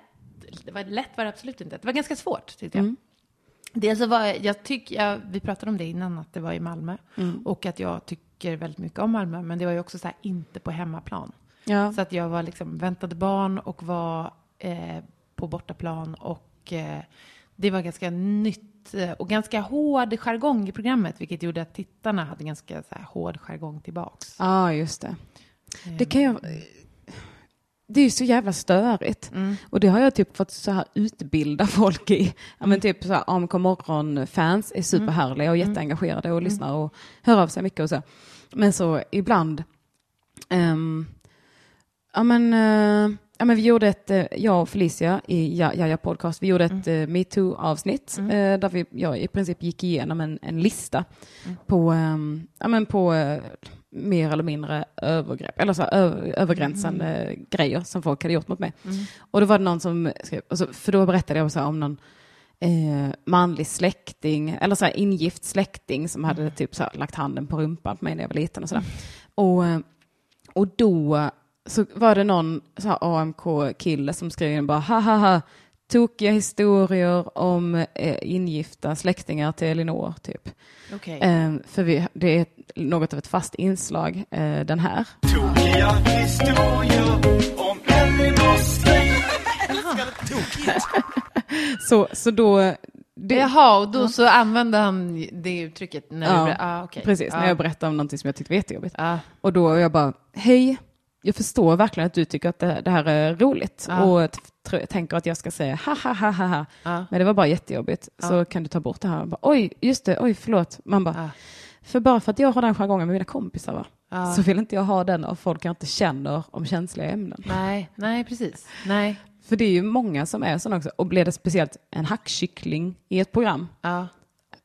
det var, lätt var det absolut inte. Det var ganska svårt tyckte Mm. jag. Dels så var jag, jag tyck, jag, vi pratade om det innan, att det var i Malmö. Mm. Och att jag tycker väldigt mycket om Malmö, men det var ju också så här, inte på hemmaplan. ja. Så att jag var liksom, väntade barn och var eh, på bortaplan och eh, det var ganska nytt eh, och ganska hård jargong i programmet vilket gjorde att tittarna hade ganska så här, hård jargong tillbaks. Ja, just det. Det kan jag... Det är ju så jävla störigt. Och det har jag typ fått så här utbilda folk i. Ja, men typ så här, AMK Morgon-fans är superhärliga och jätteengagerade och lyssnar och hör av sig mycket och så. Men så ibland... ehm, ja, men, eh, ja, men vi gjorde ett, eh, jag och Felicia i Ja- Jaja Podcast, vi gjorde ett eh, metoo-avsnitt eh, där vi, jag i princip gick igenom en, en lista på, ehm, ja, men på eh, mer eller mindre övergrepp, eller så här, ö- övergränsande grejer som folk hade gjort mot mig. Och då var det någon som skrev, och så, för då berättade jag så här om någon eh, manlig släkting, eller så här ingift släkting som hade typ så här, lagt handen på rumpan på mig när jag var liten och sådär. Och, eh, och då så var det någon så här AMK-kille som skrev in bara ha ha ha tokiga historier om eh, ingifta släktingar till Elinor typ. Okej. Eh, för vi, det är något av ett fast inslag eh, den här. Tokiga historier om Elinors släkt. Älskade tokigt. Så, så då... Det, Jaha, och då så använde han det uttrycket när Ja, du... ber- Ah, okej. Precis, ja. när jag berättade om någonting som jag tyckte var jättejobbigt. Ja. Och då jag bara, hej, jag förstår verkligen att du tycker att det, det här är roligt Ja. och t- tr- tänker att jag ska säga ha ha ha ha ha. Ja. Men det var bara jättejobbigt, så kan du ta bort det här? Och Bara, oj, just det, oj, förlåt. Man bara, Ja. för bara för att jag har den jargongen med mina kompisar va? Ja. så vill inte jag ha den av folk jag inte känner om känsliga ämnen. Nej, nej, precis. Nej, För det är ju många som är sådana också, och blir det speciellt en hackkyckling i ett program, ja.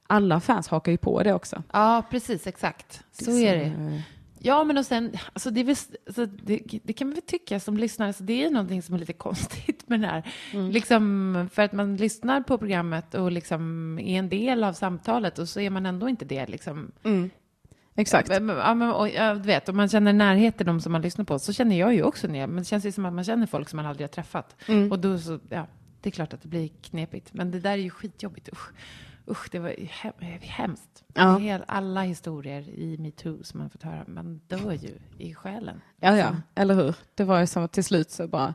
alla fans hakar ju på det också. Ja, precis, exakt. Så är det. Ja, men och sen, alltså det, är väl, alltså det, det kan man väl tycka som lyssnare, så det är någonting som är lite konstigt med det här. Liksom, för att man lyssnar på programmet och liksom är en del av samtalet och så är man ändå inte det. Liksom. Exakt. Men- men- Ja, men, och, ja, du vet, om man känner närhet till de som man lyssnar på, så känner jag ju också det. Men det känns ju som att man känner folk som man aldrig har träffat. Mm. Och då så, ja, det är klart att det blir knepigt. Men det där är ju skitjobbigt, usch. Usch, det var ju hem- hemskt. Ja. Hel- alla historier i metoo som man fått höra, man dör ju i själen. Ja, ja, Alltså, eller hur? Det var ju som att till slut så bara,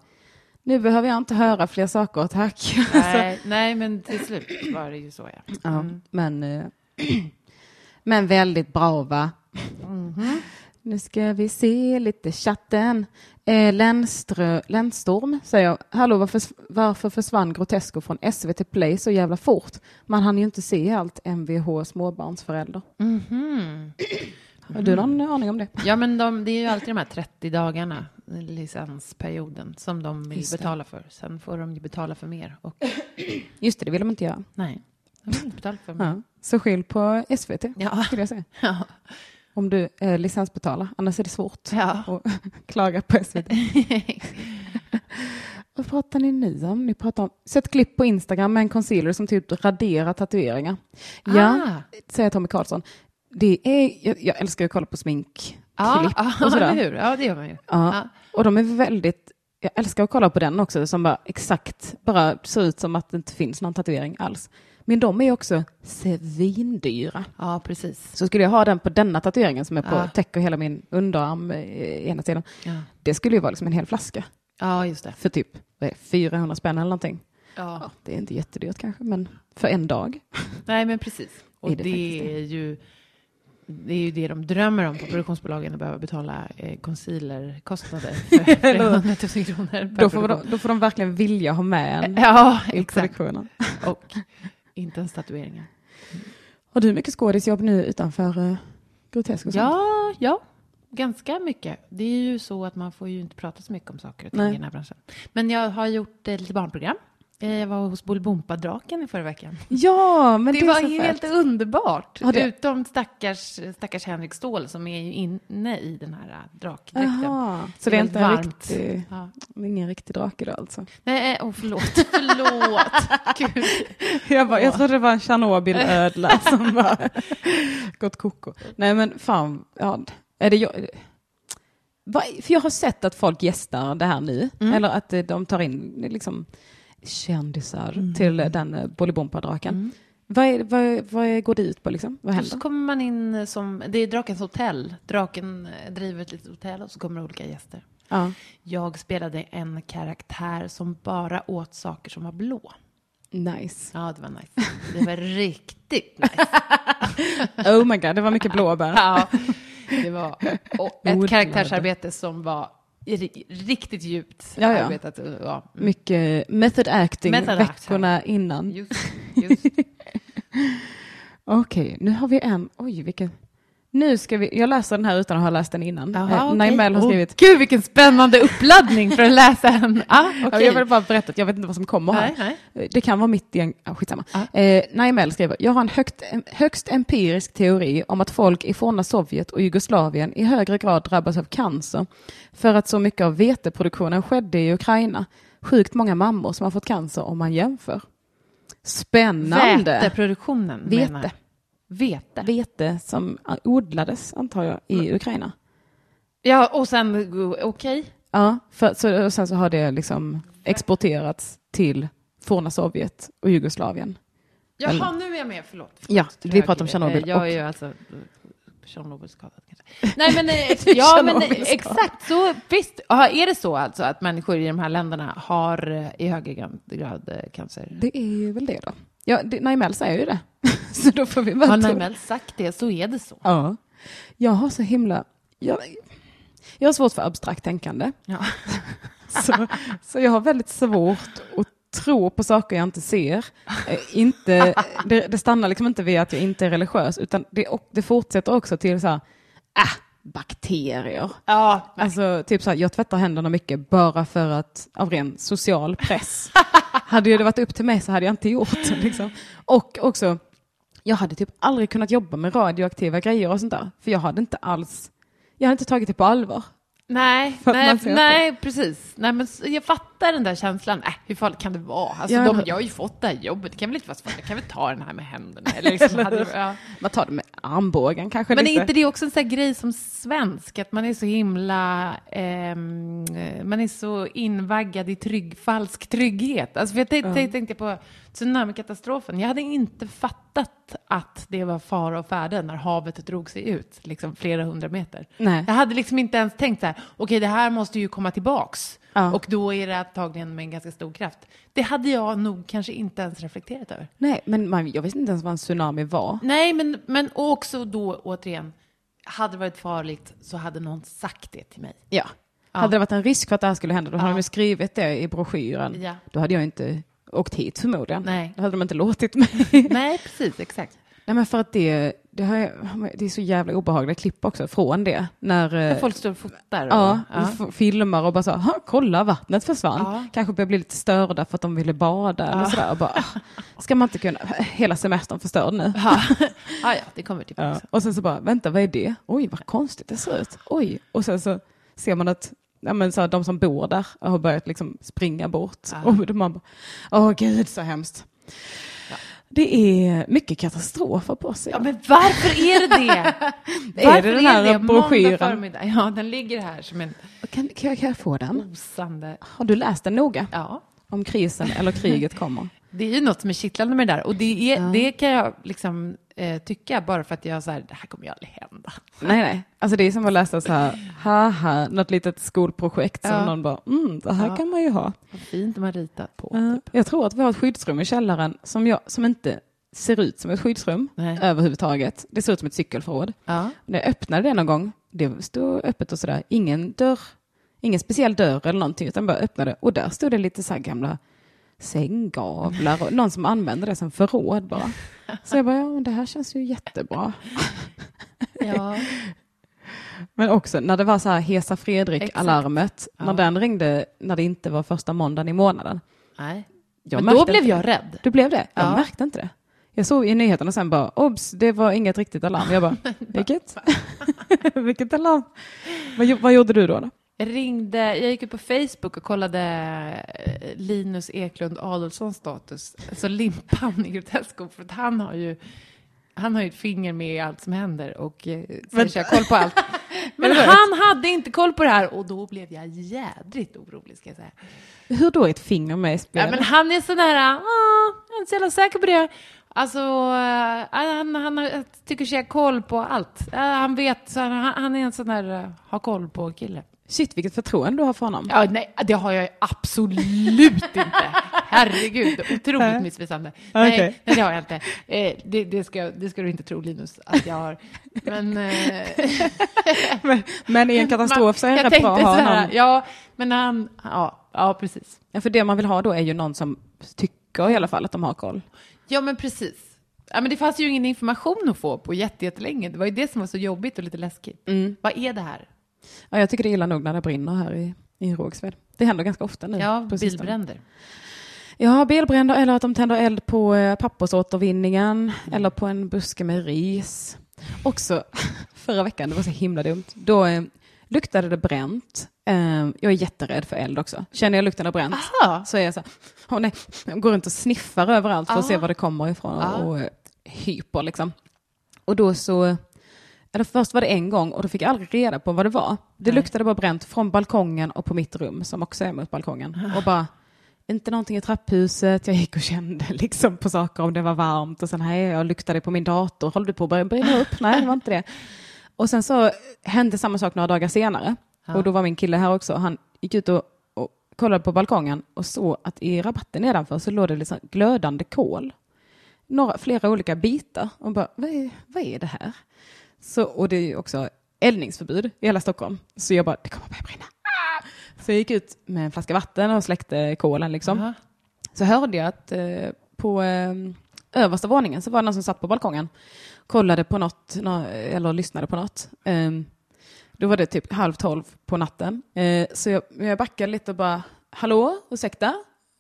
nu behöver jag inte höra fler saker, tack. Nej, nej, men till slut var det ju så, ja. Ja, men, eh, men väldigt bra va? Mm-hmm. Nu ska vi se lite chatten. Eh, Länströ, Ländstorm säger, jag, hallå varför, varför försvann Grotesco från SVT Play så jävla fort? Man hann ju inte se allt Mvh småbarnsförälder. Mm-hmm. Har du någon aning om det? Ja, men de, det är ju alltid de här 30 dagarna, eh, licensperioden, som de vill betala för. Sen får de ju betala för mer. Och Just det, det vill de inte göra. nej, de vill inte betala för mer. Ja. Så skyll på SVT Ja. skulle jag säga. Ja. Om du eh, licensbetalar, annars är det svårt Ja. att klaga på SVT. Vad pratar ni nu om? Ni pratar om... Så ett klipp på Instagram med en concealer som typ raderar tatueringar. Ja, Ah. säger Tommy Karlsson. Det är... jag, jag älskar att kolla på sminkklipp Ah. Ja, och ja sådär. eller hur? Ja, det gör man ju. Ja. Ja. Och de är väldigt, jag älskar att kolla på den också, som bara exakt bara ser ut som att det inte finns någon tatuering alls. Men de är också svindyra. Ja, precis. Så skulle jag ha den på denna tatueringen som är på, Ja. täcker hela min underarm eh, ena sidan, Ja, det skulle ju vara liksom en hel flaska ja just det. för typ vad är det, 400 spänn eller någonting. Ja. Ja, det är inte jättedyrt kanske, men för en dag. Nej, men precis. Och Är det det, faktiskt det? är ju... Det är ju det de drömmer om på produktionsbolagen, att behöva betala eh, concealerkostnader för 300 000 kronor. per Då får, de, produktion. då får de verkligen vilja ha med en Ja, i exakt. produktionen. Och inte ens tatueringar. Har du mycket skådisjobb nu utanför uh, grotesk och sånt? Ja, ja. Ganska mycket. Det är ju så att man får ju inte prata så mycket om saker och ting Nej. i den här branschen. Men jag har gjort eh, lite barnprogram. Eh, Jag var hos Bolibompa-draken i förra veckan. Ja, men det, Det, var är så fett. helt underbart. Ja, det- Utom stackars, stackars Henrik Ståhl som är ju inne i den här eh, drakdräkten. Jaha, så det är väldigt inte en riktig, Ja. ingen riktig drake då alltså? Nej, eh, åh förlåt. Förlåt. Gud. Jag, bara, jag trodde det var en Tjernobylödla som bara gått koko. Nej men fan, ja, är det jag? Va, för jag har sett att folk gästar det här nu, Mm. eller att eh, de tar in liksom kändisar Mm. till eh, den eh, Bolibompa-draken. Vad, är, vad, vad går det ut på liksom? Vad Så händer? kommer man in som, det är Drakens hotell. Draken eh, driver ett litet hotell och så kommer det olika gäster. Ja. Jag spelade en karaktär som bara åt saker som var blå. Nice. Ja, det var nice. Det var riktigt nice. Oh my god, det var mycket blåbär. Ja, det var och Odlade. ett karaktärsarbete som var ri- riktigt djupt Ja, ja. arbetat. Ja. Mycket method acting Method acting. veckorna innan. Just, just. Okej, nu har vi en. Oj, vilken. Nu ska vi, jag läser den här utan att ha läst den innan. Jaha, Eh, okej. Oh. Naimel har Åh, skrivit. Gud, vilken spännande uppladdning för att läsa en. Ah, Ja, okej. Jag vill bara berätta att jag vet inte vad som kommer här. Nej, nej. Eh, Det kan vara mitt i en... Ah, skitsamma. Eh, Naimel skriver, jag har en högt, en högst empirisk teori om att folk i forna Sovjet och Jugoslavien i högre grad drabbas av cancer för att så mycket av veteproduktionen skedde i Ukraina. Sjukt många mammor som har fått cancer om man jämför. Spännande! Väteproduktionen, Vete. menar jag. Vete. Vete som eh, odlades, antar jag, Mm. i Ukraina. Ja, och sen, okej. Ja, för, så, och sen så har det liksom exporterats till forna Sovjet och Jugoslavien. Jaha, nu är jag med, förlåt. förlåt Ja, tror vi jag. pratar om Tjernobyl Eh, Jag och- är ju alltså eh, Tjernobylskadad kanske. Nej men, eh, ja, men eh, Tjernobylskadad. exakt så, visst. Ja, är det så alltså att människor i de här länderna har eh, i högre grad- grad eh, cancer? Det är ju väl det då. Ja, det, Naimel säger ju det. så då får vi bara Har tro- Najmel sagt det så är det så. Ja. Jag har så himla... Jag, jag har svårt för abstrakt tänkande. Ja. Så, så jag har väldigt svårt att tro på saker jag inte ser. Eh, Inte, det, det stannar liksom inte vid att jag inte är religiös, utan det, och- det fortsätter också till så här, ah, bakterier. Ja, Alltså, typ så här, jag tvättar händerna mycket bara för att, av ren social press. hade ju det varit upp till mig så hade jag inte gjort det. Liksom. Och också, jag hade typ aldrig kunnat jobba med radioaktiva grejer och sånt där. För jag hade inte alls, jag hade inte tagit det på allvar. nej, För att nej, man ser att nej precis. Nej, men s- jag fattar den där känslan. Äh, hur farligt kan det vara? Alltså, Ja. de, jag har ju fått det här jobbet, det kan väl inte vara så farligt? Jag kan väl ta den här med händerna? Eller liksom, hade, det- ja. Man tar det med armbågen kanske Men är lite. inte det också en sån här grej som svensk, att man är så himla, ehm, man är så invaggad i trygg, falsk trygghet? Alltså för jag tänkte, tänkte på tsunamikatastrofen, jag hade inte fattat att det var fara och färde när havet drog sig ut, liksom flera hundra meter. Nej. Jag hade liksom inte ens tänkt så här, okej det här måste ju komma tillbaks. Ja. Och då är det antagligen med en ganska stor kraft. Det hade jag nog kanske inte ens reflekterat över. Nej, men man, jag visste inte ens vad en tsunami var. Nej, men, men också då återigen, hade det varit farligt så hade någon sagt det till mig. Ja. Hade det varit en risk för att det här skulle hända, då hade de ju skrivit det i broschyren. Ja. Då hade jag inte åkt hit förmodligen. Nej. Då hade de inte låtit mig. Nej, precis, exakt. Nej men för att det, det, har jag, det är så jävla obehagliga klipp också från det. När, eh, Folk står och fotar. Och, ja, ja. f- filmar och bara så här, "Ha, kolla vattnet försvann. Ja. Kanske börjar bli lite störda för att de ville bada eller sådär. Och bara, "Ah, ska man inte kunna, hela semestern förstörd nu. Ja, ja, det kommer tillbaka. Och sen så bara, vänta vad är det? Oj vad konstigt det ser ut. Oj, och sen så ser man att ja, men så här, de som bor där har börjat liksom springa bort. Och de man bara, åh gud så hemskt. Det är mycket katastrofer på sig. Ja, men varför är det det? det varför den här broschyren? måndag förmiddag? Ja, den ligger här som en kan, kan, jag, kan jag få den? osande... Har du läst den noga? Ja. Om krisen eller kriget kommer? Det är ju något som är kittlande med det där. Och det, är, det kan jag liksom eh, tycka bara för att jag så här, det här kommer ju aldrig hända. Nej, nej. Alltså det är som att läsa så här, haha, något litet skolprojekt som Ja. någon bara, mm, det här Ja. kan man ju ha. Vad fint de har ritat på. Ja, typ. Jag tror att vi har ett skyddsrum i källaren som, jag, som inte ser ut som ett skyddsrum Nej. överhuvudtaget. Det ser ut som ett cykelförråd. Ja. När jag öppnade det någon gång, det stod öppet och sådär, ingen dörr, ingen speciell dörr eller någonting, utan bara öppnade och där stod det lite så här gamla sänggavlar och någon som använde det som förråd bara. Så jag bara, ja, men det här känns ju jättebra. Ja. Men också när det var så här Hesa Fredrik-alarmet, Ja. när den ringde när det inte var första måndagen i månaden. Nej. Jag Men då märkte blev inte jag rädd. Du blev det? Jag Ja. märkte inte det. Jag såg i nyheterna sen bara, obs, det var inget riktigt alarm. Jag bara, vilket? vilket alarm? Vad, gjo- vad gjorde du då? då? Jag ringde, jag gick ut på Facebook och kollade eh, Linus Eklund Adolfssons status, alltså limpan i Grotesco, för att han har ju han har ju ett finger med i allt som händer och eh, ska köra koll på allt. Men han hade inte koll på det här och då blev jag jädrigt orolig ska jag säga. Hur då är ett finger med i Ja, spelet? men han är sån här, ah, jag är inte så jävla säker på det. Alltså, eh, han, han har- jag tycker sig ha koll på allt. Eh, Han vet, så han, han är en sån här, eh, ha koll på kille. Shit, vilket förtroende du har för honom. Ja, nej, det har jag absolut inte. Herregud, otroligt missvisande. Okej. Nej, nej, det har jag inte. Eh, det, det, ska, det ska du inte tro, Linus, att jag har. Men, eh, Men i en katastrof så är jag det bra att tänkte ha så här, någon. ja, men han, ja, ja, precis. Ja, för det man vill ha då är ju någon som tycker i alla fall att de har koll. Ja, men precis. Ja, men det fanns ju ingen information att få på jätte- jättelänge. Det var ju det som var så jobbigt och lite läskigt. Mm. Vad är det här? Ja, jag tycker det är illa nog när det brinner här i, i Rågsved. Det händer ganska ofta nu. Ja, på sistone. bilbränder. Ja, bilbränder eller att de tänder eld på eh, pappersåtervinningen Mm. eller på en buske med ris. Också förra veckan, det var så himla dumt, då eh, luktade det bränt. Eh, jag är jätterädd för eld också. Känner jag lukten av bränt Ja, så är jag så här, åh nej, jag går runt och sniffar överallt för att Ah. se var det kommer ifrån och, Ah. och eh, hyper liksom. Och då så, eller först var det en gång och då fick jag aldrig reda på vad det var. Det luktade bara bränt från balkongen och på mitt rum som också är mot Ah. balkongen. Och bara, inte någonting i trapphuset, jag gick och kände liksom på saker om det var varmt och sen här är jag och luktade på min dator, håller du på att börja brinna upp? Nej, det var inte det. Och sen så hände samma sak några dagar senare. Och då var min kille här också. Han gick ut och, och kollade på balkongen och såg att i rabatten nedanför så låg det liksom glödande kol. Några, flera olika bitar. Och bara, vad är, vad är det här? Så, och det är ju också eldningsförbud i hela Stockholm. Så jag bara, det kommer börja brinna. Ah! Så jag gick ut med en flaska vatten och släckte kolen liksom. Aha. Så hörde jag att eh, på eh, översta våningen så var det någon som satt på balkongen, kollade på något, nå- eller lyssnade på något. Eh, då var det typ halv tolv på natten. Eh, så jag, jag backade lite och bara, hallå, ursäkta?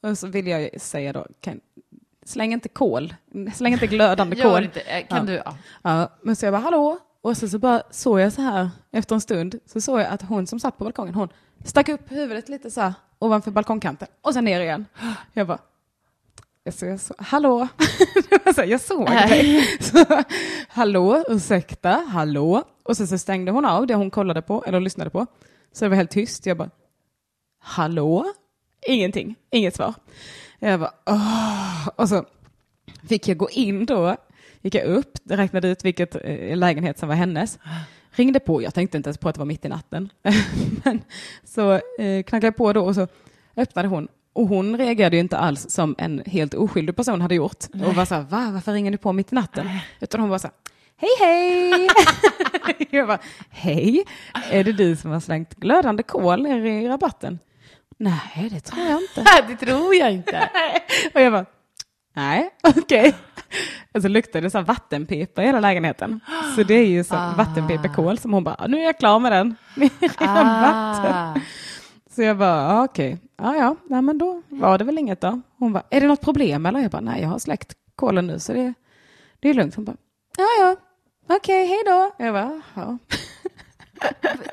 Och så vill jag säga då, kan, släng inte kol, släng inte glödande gör kol. inte. Eh, Kan Ja. du? Ja. Ja, men så jag bara hallå, och sen så bara såg jag så här efter en stund, så såg jag att hon som satt på balkongen, hon stack upp huvudet lite så här ovanför balkongkanten och sen ner igen. Jag bara, jag såg, jag såg, hallå, Det var så här, jag såg dig. Så, hallå, ursäkta, hallå. Och sen så stängde hon av det hon kollade på, eller lyssnade på. Så det var helt tyst, jag bara, hallå? Ingenting, inget svar. Jag bara, åh. Och så fick jag gå in då, gick jag upp, räknade ut vilket eh, lägenhet som var hennes. Ringde på, jag tänkte inte ens på att det var mitt i natten. Men, så eh, knackade jag på då och så öppnade hon. Och hon reagerade ju inte alls som en helt oskyldig person hade gjort. Och var så här, va, varför ringer du på mitt i natten? Utan hon var så här, hej hej! jag bara, hej, är det du som har slängt glödande kol ner i rabatten? Nej, det tror jag inte. Det tror jag inte. Och jag bara, nej, okej. Och så luktade det så här vattenpipa i hela lägenheten. Så det är ju så ah. vattenpipekol som hon bara, nu är jag klar med den. Ah. Så jag bara, ah, okej, ja ja, nej men då var det väl inget då. Hon bara, är det något problem eller? Jag bara, nej jag har släckt kolen nu så det, det är lugnt. Hon bara, ja ja, okej, hej då. Jag bara, ja.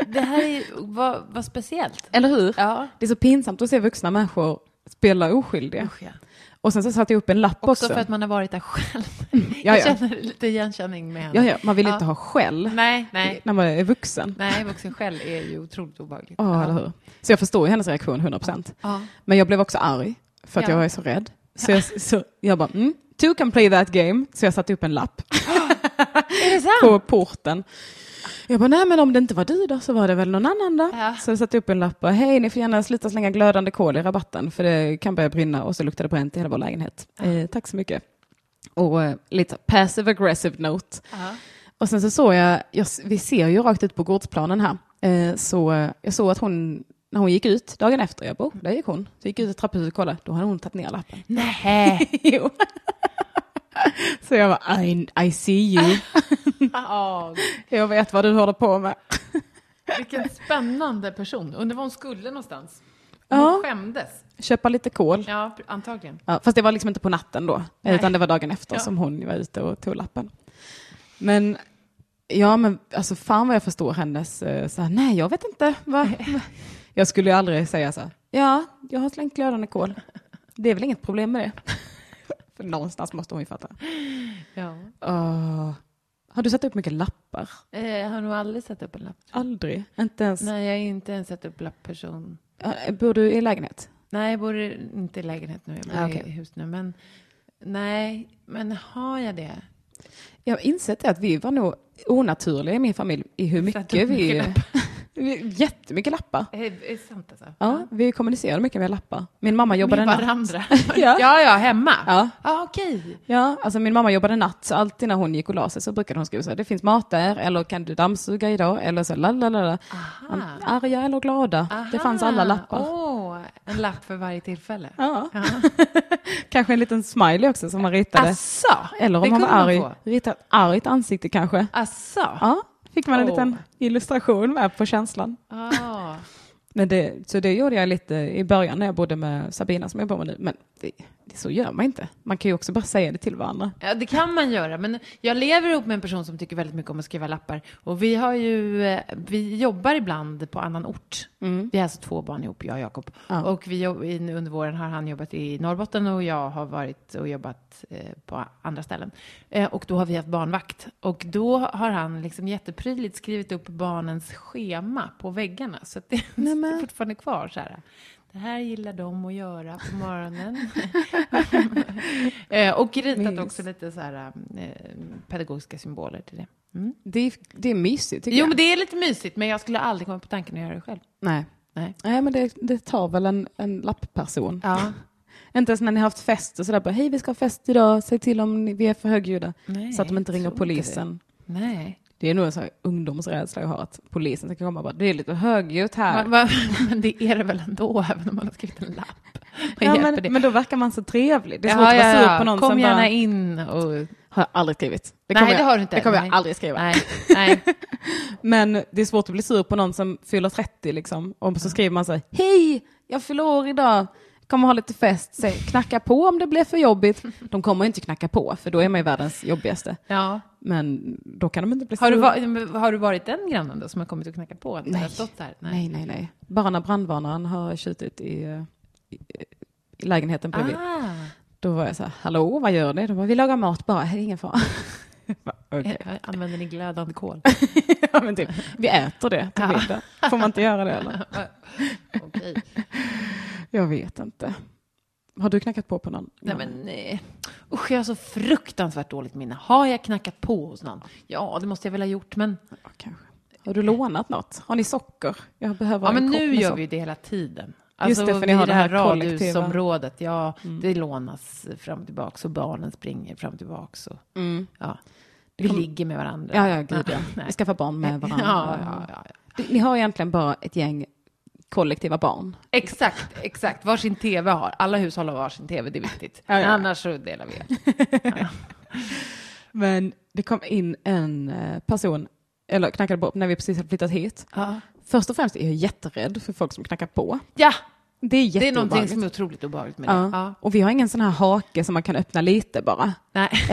Det här är, vad, vad speciellt. Eller hur? Ja. Det är så pinsamt att se vuxna människor spela oskyldiga. Och sen så satte jag upp en lapp också. Också för att man har varit där själv. Mm. ja, Jag ja. känner lite igenkänning med henne. ja, ja, man vill inte Ja. ha skäll Nej, nej. när man är vuxen. Nej, vuxen själv är ju otroligt obehagligt. Ja, eller hur? Så jag förstår ju hennes reaktion 100%. Ja. Men jag blev också arg för att Ja. jag är så rädd. Så jag, så jag bara, mm, two can play that game. Så jag satte upp en lapp Ah. Är det sant? på porten. Jag bara, nej men om det inte var du då så var det väl någon annan då. Ja. Så jag satte upp en lapp och, hej ni får gärna sluta slänga glödande kol i rabatten för det kan börja brinna och så luktade det bränt i hela vår lägenhet. Eh, tack så mycket. Och eh, lite passive aggressive note. Ja. Och sen så såg jag, jag, vi ser ju rakt ut på gårdsplanen här, eh, så eh, jag såg att hon, när hon gick ut dagen efter, jag bara, oh, där gick hon. Så gick jag ut i trapphuset och kollade, då hade hon tagit ner lappen. Nej. Jo. så jag bara, I, I see you. Ja, jag vet vad du håller på med. vilken spännande person. Undrar var hon skulle någonstans. Hon Ja. skämdes. Köpa lite kol. Ja, antagligen. Ja, fast det var liksom inte på natten då, Nej. utan det var dagen efter Ja. som hon var ute och tog lappen. Men ja, men alltså fan vad jag förstår hennes, eh, så här, nej jag vet inte. Va? Jag skulle ju aldrig säga så här, ja, jag har slängt glödande kol. Det är väl inget problem med det. För någonstans måste hon ju fatta. Ja. Åh. Har du satt upp mycket lappar? Eh, Jag har nog aldrig satt upp en lapp. Aldrig, inte ens. Nej, jag är inte en satt upp lapp-person. Eh, Bor du i lägenhet? Nej, jag bor i- inte i lägenhet nu, jag bor Ah, okej. i hus nu. Men nej, men har jag det? Jag har insett att vi var nog onaturliga i min familj i hur Satt mycket upp vi... mycket lappar. vi jättemycket lappar. Eh, Är det sant alltså? Ja, vi kommunicerade mycket med lappar. Min mamma jobbade Med natt. varandra? Ja. ja. ja, hemma? Ja. ah, okej. Ja, alltså min mamma jobbade natt, så alltid när hon gick och la sig så brukade hon skriva så här, det finns mat där, eller kan du dammsuga idag, eller så la la la la. Ant- Arga eller glada, det fanns alla lappar. Åh, en lapp för varje tillfälle. Ja. kanske en liten smiley också som man ritade. Asså, eller om det hon var kunde man arg, få. ritade ett argt ansikte kanske. Asså? Ja, fick man en Åh. liten illustration med på känslan. Ah. Men det, så det gjorde jag lite i början när jag bodde med Sabina som jag bor med nu. Men det, det, så gör man inte. Man kan ju också bara säga det till varandra. Ja, det kan man göra, men jag lever ihop med en person som tycker väldigt mycket om att skriva lappar. Och vi har ju, eh, vi jobbar ibland på annan ort. Vi har alltså två barn ihop, jag och Jakob. Ja. Och vi, jobb- in- under våren har han jobbat i Norrbotten och jag har varit och jobbat eh, på andra ställen. Eh, och då har vi haft barnvakt. Och då har han liksom jätteprydligt skrivit upp barnens schema på väggarna. Så att det, det är fortfarande kvar så här. Det här gillar de att göra på morgonen. Eh, och ritat Mys. också lite så här eh, pedagogiska symboler till det. Mm. Det är, det är mysigt tycker Jo, jag. men det är lite mysigt, men jag skulle aldrig komma på tanken att göra det själv. Nej. Nej. Nej, men det, det tar väl en, en lappperson. Ja. Inte ens när ni har haft fest och sådär bara, hej vi ska ha fest idag, säg till om ni, vi är för högljudda. Nej, så att de inte jag ringer tror polisen. Nej. det. är nog en sån här ungdomsrädsla jag har, att polisen ska komma och bara, det är lite högljutt här. Va, va, men det är det väl ändå, även om man har skrivit en lapp. Vad ja, hjälper men, det? men då verkar man så trevlig. Det är Ja, svårt att vara ja, sur ja. på någon Kom som gärna bara, in och... har jag aldrig skrivit. Det Nej, kommer det jag- har du inte. Det kommer Nej. jag aldrig skriva. Nej, nej. Men det är svårt att bli sur på någon som fyller 30 liksom. Och så skriver man så här, hej, jag fyller år idag, kommer ha lite fest, Säg, knacka på om det blir för jobbigt. De kommer ju inte knacka på, för då är man ju världens jobbigaste. Ja. Men då kan de inte bli Har, du sura. va, men har du varit den grannen då som har kommit och knackat på? Eller Nej. Stått där? Nej, nej, nej. Bara när brandvarnaren har tjutit i, eh, i, i lägenheten bredvid. Ah. Då var jag så här, hallå, vad gör ni? De bara, vi lagar mat bara, det är ingen fara. Jag bara, Okej. Eh, Använder ni glödande kol? ja, men typ, vi äter det till middag. Får man inte göra det eller? Okej. Jag vet inte. Har du knackat på på någon? Nej, men nej. Usch, jag har så fruktansvärt dåligt minne. Har jag knackat på hos någon? Ja, det måste jag väl ha gjort, men... Ja, kanske. Har du lånat något? Har ni socker? Jag behöver Ja, men en kopp nu med gör socker. vi ju det hela tiden. Alltså, Just det, för ni har i det här kollektiva- Mm. radhusområdet, ja, det lånas fram och tillbaka och barnen springer fram och tillbaka. Och, ja. Vi ligger med varandra. Mm. Ja, ja, gud ja. Nej. Vi skaffar barn med varandra. Ja, ja, ja, ja. Det- Ni har egentligen bara ett gäng kollektiva barn. Exakt, exakt. Varsin TV har. Alla hushåll har varsin TV, det är viktigt. Ja, ja, ja. Annars så delar vi. Men det kom in en eh, person, eller knackade på, när vi precis hade flyttat hit. Ja, Först och främst är jag jätterädd för folk som knackar på. ja Det är det är någonting jätteobehagligt. som är otroligt obehagligt med Ja. det. Ja. Och vi har ingen sån här hake som man kan öppna lite bara. Nej. Eh, för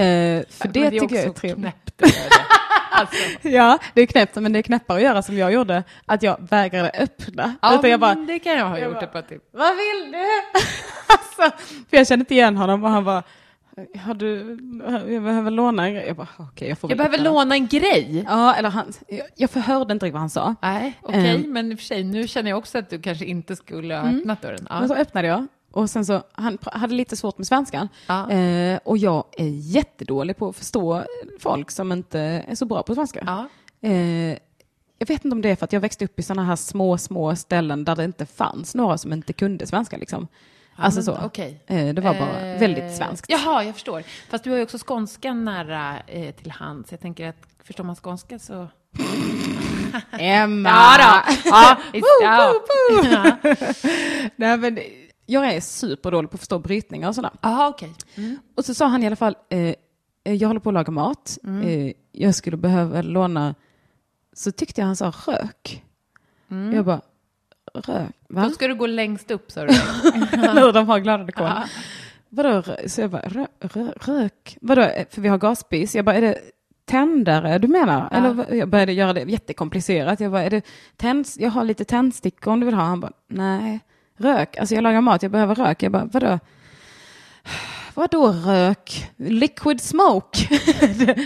Men det tycker jag är också trevligt. knäppt att göra det. Alltså. Ja, det är knäppt, men det är knäppare att göra som jag gjorde, att jag vägrade öppna. Ja, Utan jag bara, men det kan jag ha gjort ett par till. Vad vill du? alltså, för jag kände inte igen honom och han bara, har du, jag behöver låna en grej. Jag bara, okej jag får Jag väl behöver öppna den." låna en grej. Ja, eller han, jag, jag förhörde inte riktigt vad han sa. Nej, Eh. okej, Ehm. men i och för sig, nu känner jag också att du kanske inte skulle ha öppnat dörren. Men så Ja. öppnade jag och sen så, han pr- hade lite svårt med svenskan. Ja. Eh, och jag är jättedålig på att förstå folk som inte är så bra på svenska. Ja. Eh, jag vet inte om det är för att jag växte upp i sådana här små, små ställen där det inte fanns några som inte kunde svenska liksom. alltså men så. okej. Eh, det var bara Eh, väldigt svenskt. Jaha, jag förstår. Fast du har ju också skånskan nära eh, till hands. Jag tänker att förstår man skånska så... Emma! Ja, Woo, ja. woo, woo. Nej, men jag är superdålig på att förstå brytningar och sådär. Jaha, okej. Och så sa han i alla fall, eh, eh, jag håller på att laga mat, Mm. eh, jag skulle behöva låna, så tyckte jag han sa rök. Mm. Jag bara, rök? Va? Då ska du gå längst upp, sa du. Eller hur de har glada kol. Vadå, rö- så jag bara, rö, rö, rök? Vadå, eh, för vi har gasspis. Jag bara, är det tändare du menar? Eller, vad- jag började göra det jättekomplicerat. Jag bara, är det tänd, jag har lite tändstickor om du vill ha. Han bara, nej. Rök, alltså jag lagar mat, jag behöver rök. Jag bara, vadå? Vadå rök? Liquid smoke?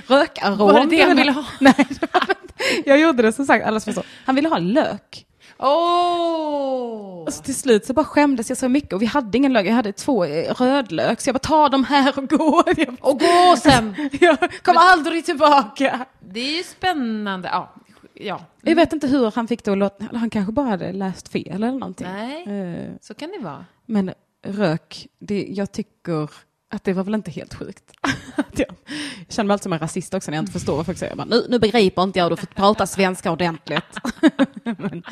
Rökarom? Var det det han ville ha? Nej, det var inte- jag gjorde det som sagt, alla som förstår. Han ville ha lök. Åh! Och så Alltså, till slut så bara skämdes jag så mycket och vi hade ingen lök, jag hade två eh, rödlök så jag bara ta de här och gå. Jag, Och gå sen! jag kommer aldrig tillbaka. Det är ju spännande. Ja. ja. Jag vet inte hur han fick det att låta, eller han kanske bara hade läst fel eller någonting. Nej, Eh, så kan det vara. Men rök, det, jag tycker att det var väl inte helt sjukt. Att jag, jag känner mig alltid som en rasist också när jag inte förstår vad folk säger. Jag bara, nu, nu begriper inte jag, du får prata svenska ordentligt. men,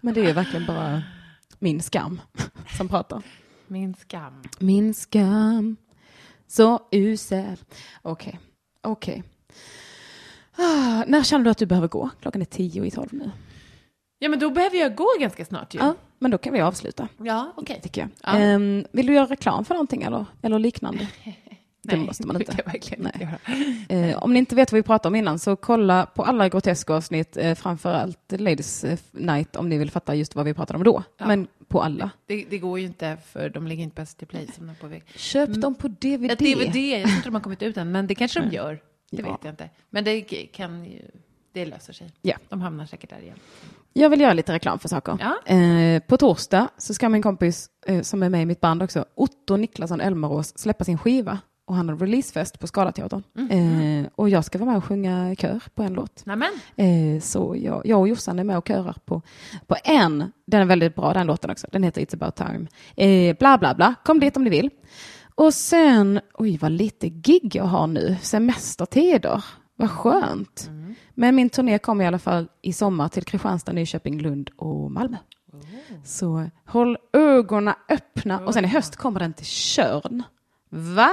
men det är ju verkligen bara min skam som pratar. Min skam. Min skam, så usel. Okej, okej. Ah, när känner du att du behöver gå? Klockan är tio i tolv nu. Ja, men då behöver jag gå ganska snart ju. Ja, men då kan vi avsluta, Ja, okej. tycker jag. Ja. Ehm, vill du göra reklam för någonting eller, eller liknande? Det måste man Det inte. vill jag verkligen inte Nej. göra. Eh, om ni inte vet vad vi pratade om innan så kolla på alla groteska avsnitt, eh, framförallt Ladies eh, Night om ni vill fatta just vad vi pratade om då. Men på alla. Det, det går ju inte, för de ligger inte på ST Play som de är på väg. Köp dem på DVD. Ett DVD, jag tror inte de har kommit ut än, men det kanske de gör. Det Mm. Ja. vet jag inte. Men det kan ju, det löser sig. Ja. De hamnar säkert där igen. Jag vill göra lite reklam för saker. Ja. Eh, på torsdag så ska min kompis eh, som är med i mitt band också, Otto Niklasson Elmerås, släppa sin skiva. Och han har releasefest på Skalateatern. Eh, och jag ska vara med och sjunga kör på en låt. Nämen, Eh, så jag, jag och Jossan är med och körar på, på en. Den är väldigt bra den låten också. Den heter It's about time. Eh, bla bla bla. Kom dit om ni vill. Och sen, oj vad lite gig jag har nu. Semestertider. Vad skönt. Men min turné kommer i alla fall i sommar till Kristianstad, Nyköping, Lund och Malmö. Så håll ögonen öppna. Och sen i höst kommer den till Körn. Va?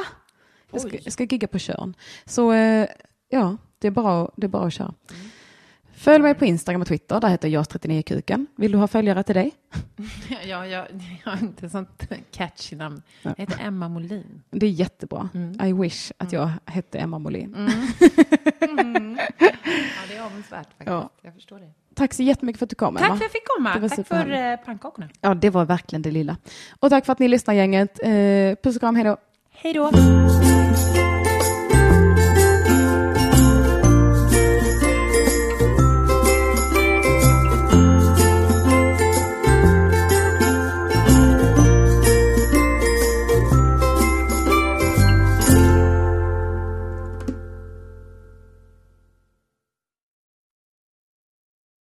Jag ska, jag ska gigga på Körn. Så eh, ja, det är bara, det är bara att köra. Följ mig på Instagram och Twitter, där heter jag 39kuken. Vill du ha följare till dig? ja, ja, jag har inte sånt catchy namn. Jag heter Emma Molin. Det är jättebra. Mm. I wish att jag hette Emma Molin. Ja, det är avundsvärt faktiskt. Ja. Jag förstår det. Tack så jättemycket för att du kom Tack för Emma. att jag fick komma. Det var Tack för eh, superhärligt. pannkakorna. Ja, det var verkligen det lilla. Och tack för att ni lyssnar gänget. Eh, puss och kram, hej då. Hej då.